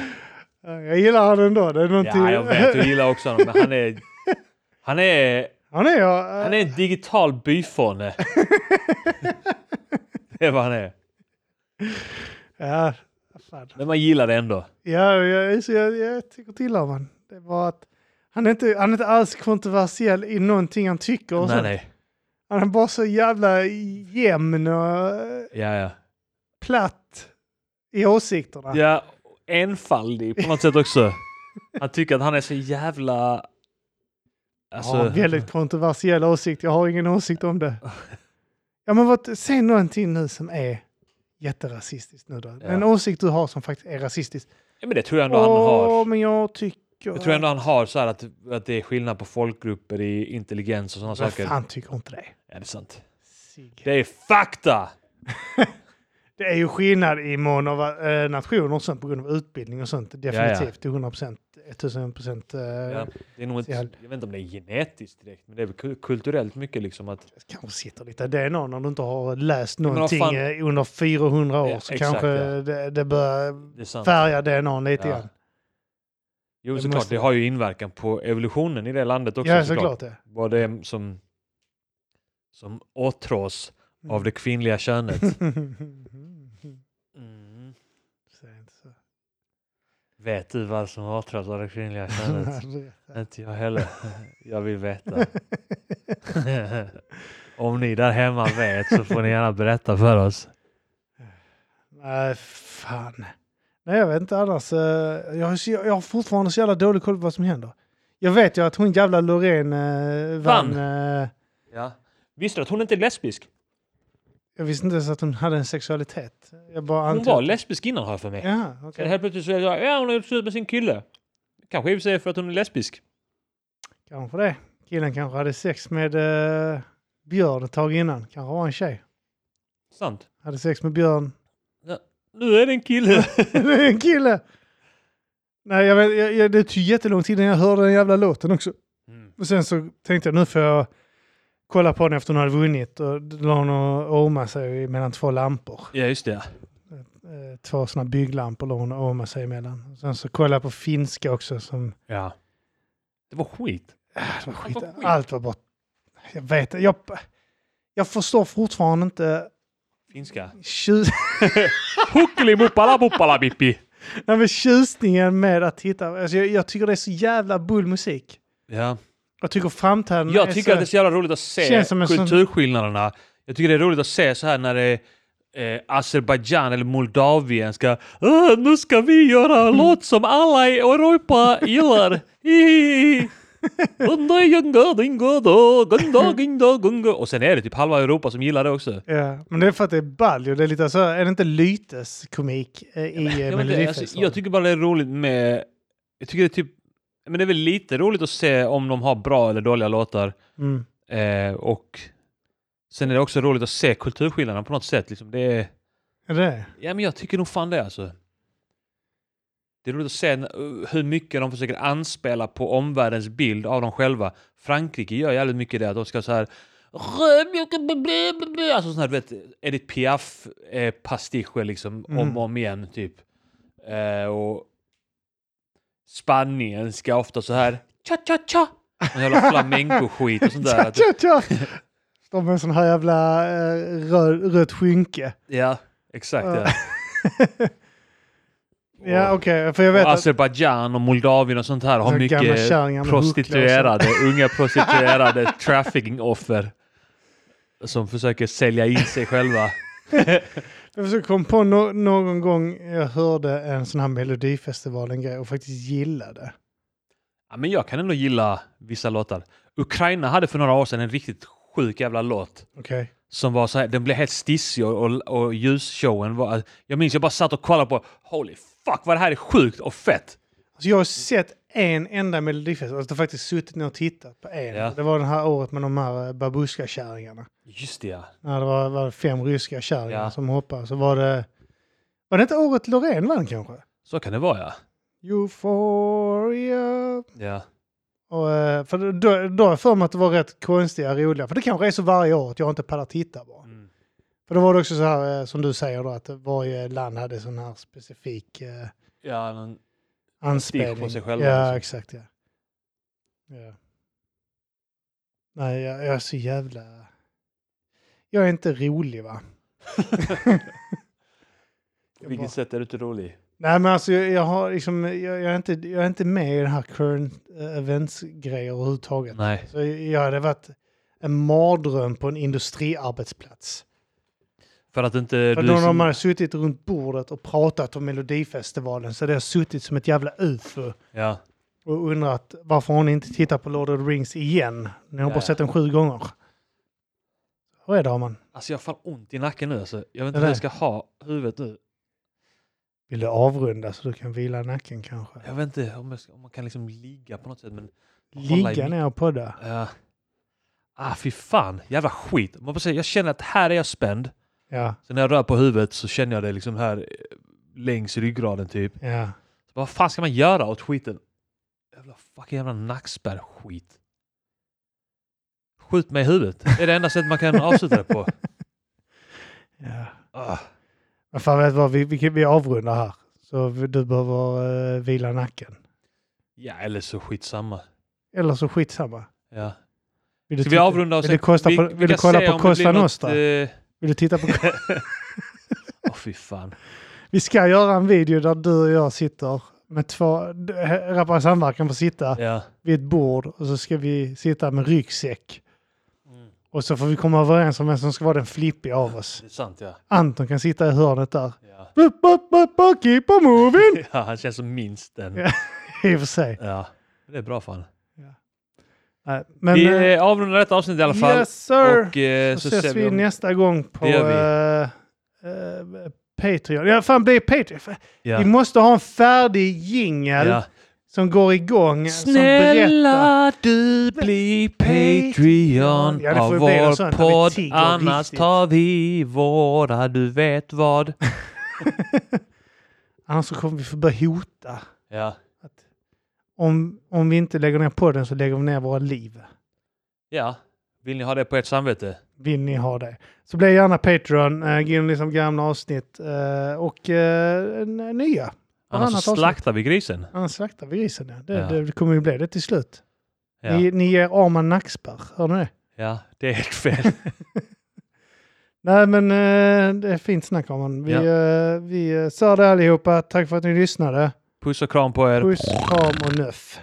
Speaker 2: Jag gillar han ändå. Det är någonting...
Speaker 1: ja, jag vet. Du gillar också honom. Men han är... Han är,
Speaker 2: Han är, eh,
Speaker 1: han är en digital byfåne. Det är vad han är.
Speaker 2: Ja, fan.
Speaker 1: Men man gillar det ändå.
Speaker 2: ja jag, så jag, jag tycker till om honom. Det är bara att han är inte, han är inte alls kontroversiell i någonting han tycker. Och
Speaker 1: Nej,
Speaker 2: sånt.
Speaker 1: nej.
Speaker 2: Han är bara så jävla jämn och eh,
Speaker 1: Ja, ja.
Speaker 2: platt i åsikterna.
Speaker 1: Ja, enfaldig på något sätt också. Han tycker att han är så jävla... Alltså-
Speaker 2: jag har en väldigt kontroversiell åsikt. Jag har ingen åsikt om det. Ja men vad, säg någonting nu som är jätterasistiskt nu då. En åsikt du har som faktiskt är rasistisk.
Speaker 1: Ja, men det tror jag ändå
Speaker 2: Åh,
Speaker 1: han har.
Speaker 2: men jag tycker...
Speaker 1: Jag tror ändå han har så här att, att det är skillnad på folkgrupper i intelligens och sådana
Speaker 2: Vem
Speaker 1: saker.
Speaker 2: fan tycker inte det?
Speaker 1: Ja, det är sant.
Speaker 2: Sig.
Speaker 1: Det är fakta!
Speaker 2: Det är ju skillnad i mån av eh, nationer och sånt på grund av utbildning och sånt. Definitivt till 100 procent, 1000 procent. Eh,
Speaker 1: Ja, det är nog inte,
Speaker 2: Så
Speaker 1: jag
Speaker 2: jag-
Speaker 1: vet inte om det är genetiskt direkt, men det är väl ku- kulturellt mycket liksom att...
Speaker 2: Kanske sitter lite DNA när du inte har läst
Speaker 1: vad
Speaker 2: någonting
Speaker 1: fan-
Speaker 2: eh, under 400 år
Speaker 1: Ja,
Speaker 2: så
Speaker 1: exakt,
Speaker 2: kanske
Speaker 1: ja.
Speaker 2: det, det börjar
Speaker 1: Det är sant.
Speaker 2: färga DNA lite
Speaker 1: Ja,
Speaker 2: grann.
Speaker 1: Jo,
Speaker 2: det
Speaker 1: såklart,
Speaker 2: måste-
Speaker 1: det har ju inverkan på evolutionen i det landet också
Speaker 2: Ja,
Speaker 1: såklart.
Speaker 2: såklart det.
Speaker 1: Vad det är som, som åtrås
Speaker 2: Mm.
Speaker 1: av det kvinnliga könet. Mm.
Speaker 2: Säg inte så.
Speaker 1: Vet du vad som åtrås av det kvinnliga könet? inte jag heller. Jag vill veta. Om ni där hemma vet så får ni gärna berätta för oss.
Speaker 2: Nej, fan. Nej, jag vet inte annars. eh, Jag har, så- jag har fortfarande så jävla dålig koll på vad som händer. Jag vet ju att hon jävla Loreen eh, vann.
Speaker 1: Vann.
Speaker 2: eh,
Speaker 1: Ja. Visste du att hon inte är lesbisk?
Speaker 2: jag visste inte ens att hon hade en sexualitet. Jag bara
Speaker 1: Hon
Speaker 2: antog.
Speaker 1: var lesbisk innan har jag för mig.
Speaker 2: Ja,
Speaker 1: Sen
Speaker 2: okej.
Speaker 1: helt plötsligt så är det så här, ja hon har gjort slut med sin kille. Kanske i och för sig för att hon är lesbisk.
Speaker 2: Kanske det. Killen kanske hade sex med eh, Björn ett tag innan. Kanske var en tjej.
Speaker 1: Sant.
Speaker 2: Hade sex med Björn.
Speaker 1: Nu är det en kille.
Speaker 2: Det är en kille! Nej, jag vet, jag, jag, det tog jättelång tid innan jag hörde den jävla låten också.
Speaker 1: Mm.
Speaker 2: Och sen så tänkte jag nu får jag kolla på den efter hon hade vunnit. Och då la hon och oma sig mellan två lampor.
Speaker 1: Ja just det.
Speaker 2: Eh, Två sådana bygglampor la hon och oma sig emellan. Och sen så kollade jag på finska också som...
Speaker 1: Ja. Det var skit.
Speaker 2: Ah, det var skit.
Speaker 1: Allt var skit.
Speaker 2: Allt var bara... Jag vet jag, jag förstår fortfarande inte...
Speaker 1: Finska.
Speaker 2: Tjus,
Speaker 1: Huckelimuppalabuppalabippi.
Speaker 2: nej, men tjusningen med att titta. Alltså, jag, jag tycker det är så jävla bull musik.
Speaker 1: Ja.
Speaker 2: Jag tycker framträdandena
Speaker 1: Jag tycker
Speaker 2: så...
Speaker 1: att det är så jävla roligt att se
Speaker 2: Känns som en sån-
Speaker 1: kulturskillnaderna. Jag tycker det är roligt att se så här när det är eh, Azerbajdzjan eller Moldavien ska "Åh, nu ska vi
Speaker 2: Mm.
Speaker 1: göra en låt som alla i Europa gillar. Hihihi. Gunda, gunga, dingo, då. Gunda, ginda, gunga. Och sen är det typ halva Europa som gillar det också.
Speaker 2: Ja, men det är för att det är baljo. Det är lite så, är det inte lyteskomik eh, i
Speaker 1: Ja, men
Speaker 2: eh,
Speaker 1: det, alltså, jag
Speaker 2: Melodifestivalen?
Speaker 1: tycker bara det är roligt med... Jag tycker det är typ... Men det är väl lite roligt att se om de har bra eller dåliga låtar.
Speaker 2: Mm.
Speaker 1: Eh, och sen är det också roligt att se kulturskillnaderna på något sätt. Liksom det är,
Speaker 2: Är det det?
Speaker 1: ja, men jag tycker nog fan det alltså. Det är roligt att se n- hur mycket de försöker anspela på omvärldens bild av dem själva. Frankrike gör jävligt mycket det, att de ska så här... Alltså sån här, du vet, Edith Piaf-pastischer liksom, om
Speaker 2: Mm.
Speaker 1: och om igen, typ. Eh, och Spanien ska ofta så här... Cha-cha-cha! Någon jävla flamenco-skit och sånt där.
Speaker 2: Tja,
Speaker 1: Att-
Speaker 2: tja, tja! Står med en sån här jävla eh, röd, rött skynke.
Speaker 1: Ja, exakt.
Speaker 2: Ja.
Speaker 1: Ja.
Speaker 2: Ja,
Speaker 1: och,
Speaker 2: okej, för jag vet
Speaker 1: och alltså-
Speaker 2: att...
Speaker 1: Azerbajdzjan och Moldavien och sånt här har
Speaker 2: Så gamla
Speaker 1: mycket
Speaker 2: kärringar med huckla
Speaker 1: prostituerade, unga prostituerade trafficking-offer som försöker sälja in sig själva.
Speaker 2: Jag försöker komma på no någon gång jag hörde en sån här Melodifestivalen-grej och faktiskt gillade.
Speaker 1: Ja, men jag kan ändå gilla vissa låtar. Ukraina hade för några år sedan en riktigt sjuk jävla låt
Speaker 2: Okej.
Speaker 1: som var så här, den blev helt stissig och, och, och ljusshowen var... Jag minns jag bara satt och kollade på Holy fuck vad det här är sjukt och fett!
Speaker 2: Alltså jag har sett en enda Melodifestival, alltså jag har faktiskt suttit ner och tittat på en.
Speaker 1: Ja.
Speaker 2: Det var det här året med de här eh, babuska-kärringarna.
Speaker 1: Just det ja.
Speaker 2: När det var, var fem ryska kärringar
Speaker 1: Ja.
Speaker 2: som hoppade så var det... Var det inte året Loreen vann kanske?
Speaker 1: Så kan det vara ja.
Speaker 2: Euphoria.
Speaker 1: ja.
Speaker 2: Och, eh, för då, då har jag för mig att det var rätt konstiga, roliga. För det kanske är så varje år att jag inte pallar titta bara.
Speaker 1: Mm.
Speaker 2: För då var det också så här eh, som du säger då att varje land hade sån här specifik eh,
Speaker 1: ja men-
Speaker 2: anspelning.
Speaker 1: på sig själva
Speaker 2: Ja,
Speaker 1: liksom.
Speaker 2: exakt ja. ja. Nej, jag, jag är så jävla... Jag är inte rolig va?
Speaker 1: På vilket
Speaker 2: bara-
Speaker 1: sätt är du inte rolig?
Speaker 2: Nej men alltså jag, jag har liksom, jag, jag, är inte, jag är inte med i den här current eh, events-grejer överhuvudtaget.
Speaker 1: Nej.
Speaker 2: Så jag hade varit en mardröm på en industriarbetsplats.
Speaker 1: För att inte
Speaker 2: För
Speaker 1: du... liksom-
Speaker 2: då
Speaker 1: är
Speaker 2: när
Speaker 1: så-
Speaker 2: de hade suttit runt bordet och pratat om Melodifestivalen så hade jag suttit som ett jävla ufo
Speaker 1: Ja.
Speaker 2: och undrat varför har ni inte tittat på Lord of the Rings igen? Ni har
Speaker 1: Ja.
Speaker 2: bara sett den sju gånger. Hur är det Arman?
Speaker 1: Alltså jag har fan ont i nacken nu. Alltså. Jag vet inte
Speaker 2: Är
Speaker 1: hur
Speaker 2: det?
Speaker 1: jag ska ha huvudet nu.
Speaker 2: Vill du avrunda så du kan vila nacken kanske?
Speaker 1: Jag vet inte om, jag ska, om man kan liksom ligga på något sätt. Men hålla i
Speaker 2: Ligga
Speaker 1: mitt-
Speaker 2: ner och podda.
Speaker 1: Ja. Ah fy fan, jävla skit. Man får säga, jag känner att här är jag spänd.
Speaker 2: Ja,
Speaker 1: Så när jag rör på huvudet så känner jag det liksom här eh, längs ryggraden typ.
Speaker 2: ja.
Speaker 1: Så vad fan ska man göra åt skiten? Jävla fucking jävla nackspärr-skit. Skjut mig i huvudet. Det är det enda sättet man kan avsluta det på.
Speaker 2: ja.
Speaker 1: Ah.
Speaker 2: Men fan vet du vad, vi, vi, vi avrundar här. Så vi- du behöver eh, vila nacken.
Speaker 1: Ja, eller så skitsamma.
Speaker 2: Eller så skitsamma.
Speaker 1: Ja.
Speaker 2: Vill
Speaker 1: Ska vi
Speaker 2: titta-
Speaker 1: avrunda och
Speaker 2: Vill du, kosta på, vill du
Speaker 1: kan
Speaker 2: kolla
Speaker 1: se
Speaker 2: på
Speaker 1: om det blir
Speaker 2: Costa
Speaker 1: något,
Speaker 2: Nostra?
Speaker 1: eh,
Speaker 2: Vill du titta på...
Speaker 1: Åh fy fan.
Speaker 2: Vi ska göra en video där du och jag sitter med två... Rappare Samverkan får sitta
Speaker 1: Ja.
Speaker 2: vid ett bord och så ska vi sitta med ryggsäck.
Speaker 1: Mm.
Speaker 2: Och så får vi komma överens om vem som ska vara den flippiga av oss.
Speaker 1: Det är sant ja.
Speaker 2: Anton kan sitta i hörnet där.
Speaker 1: Ja,
Speaker 2: Bup, bup, bup, bup, keep on moving!
Speaker 1: ja han känns som minst den.
Speaker 2: Ja. I och för sig.
Speaker 1: Ja. Det är bra fan.
Speaker 2: Nej, Men,
Speaker 1: vi eh, avrundar detta avsnitt i alla fall.
Speaker 2: Yes sir!
Speaker 1: Och eh,
Speaker 2: så,
Speaker 1: så,
Speaker 2: ses
Speaker 1: ser
Speaker 2: vi
Speaker 1: vi om...
Speaker 2: nästa gång på
Speaker 1: Det gör
Speaker 2: eh, eh, Patreon. Ja, fan bli Patreon. Fan,
Speaker 1: Ja.
Speaker 2: Vi måste ha en färdig jingel
Speaker 1: Ja.
Speaker 2: som går igång. som berättar.
Speaker 1: Snälla du bli Patreon
Speaker 2: Ja, det får
Speaker 1: av
Speaker 2: ju bli något
Speaker 1: vår
Speaker 2: sånt där vi
Speaker 1: podd.
Speaker 2: tigger
Speaker 1: Annars
Speaker 2: riktigt.
Speaker 1: tar vi våra, du vet vad.
Speaker 2: Annars så kommer vi få börja hota.
Speaker 1: Ja,
Speaker 2: Om, om vi inte lägger ner podden så lägger vi ner våra liv.
Speaker 1: ja. Vill ni ha det på ert samvete?
Speaker 2: Vill ni ha det? Så bli gärna Patreon. Eh, gå in liksom gamla avsnitt eh, och eh, n- nya.
Speaker 1: Annars
Speaker 2: Varannat
Speaker 1: så
Speaker 2: avsnitt.
Speaker 1: slaktar vi grisen.
Speaker 2: Annars slaktar vi grisen. Ja. Det,
Speaker 1: Ja.
Speaker 2: det kommer ju bli det till slut.
Speaker 1: Ja,
Speaker 2: Ni, ni ger Arman nackspärr. Hör ni det?
Speaker 1: ja det är helt fel.
Speaker 2: Nej, men eh, det är fint snack om man. Vi,
Speaker 1: Ja.
Speaker 2: eh, vi eh, sa det allihopa. Tack för att ni lyssnade.
Speaker 1: Puss och kram på er.
Speaker 2: Puss, kram och nöff.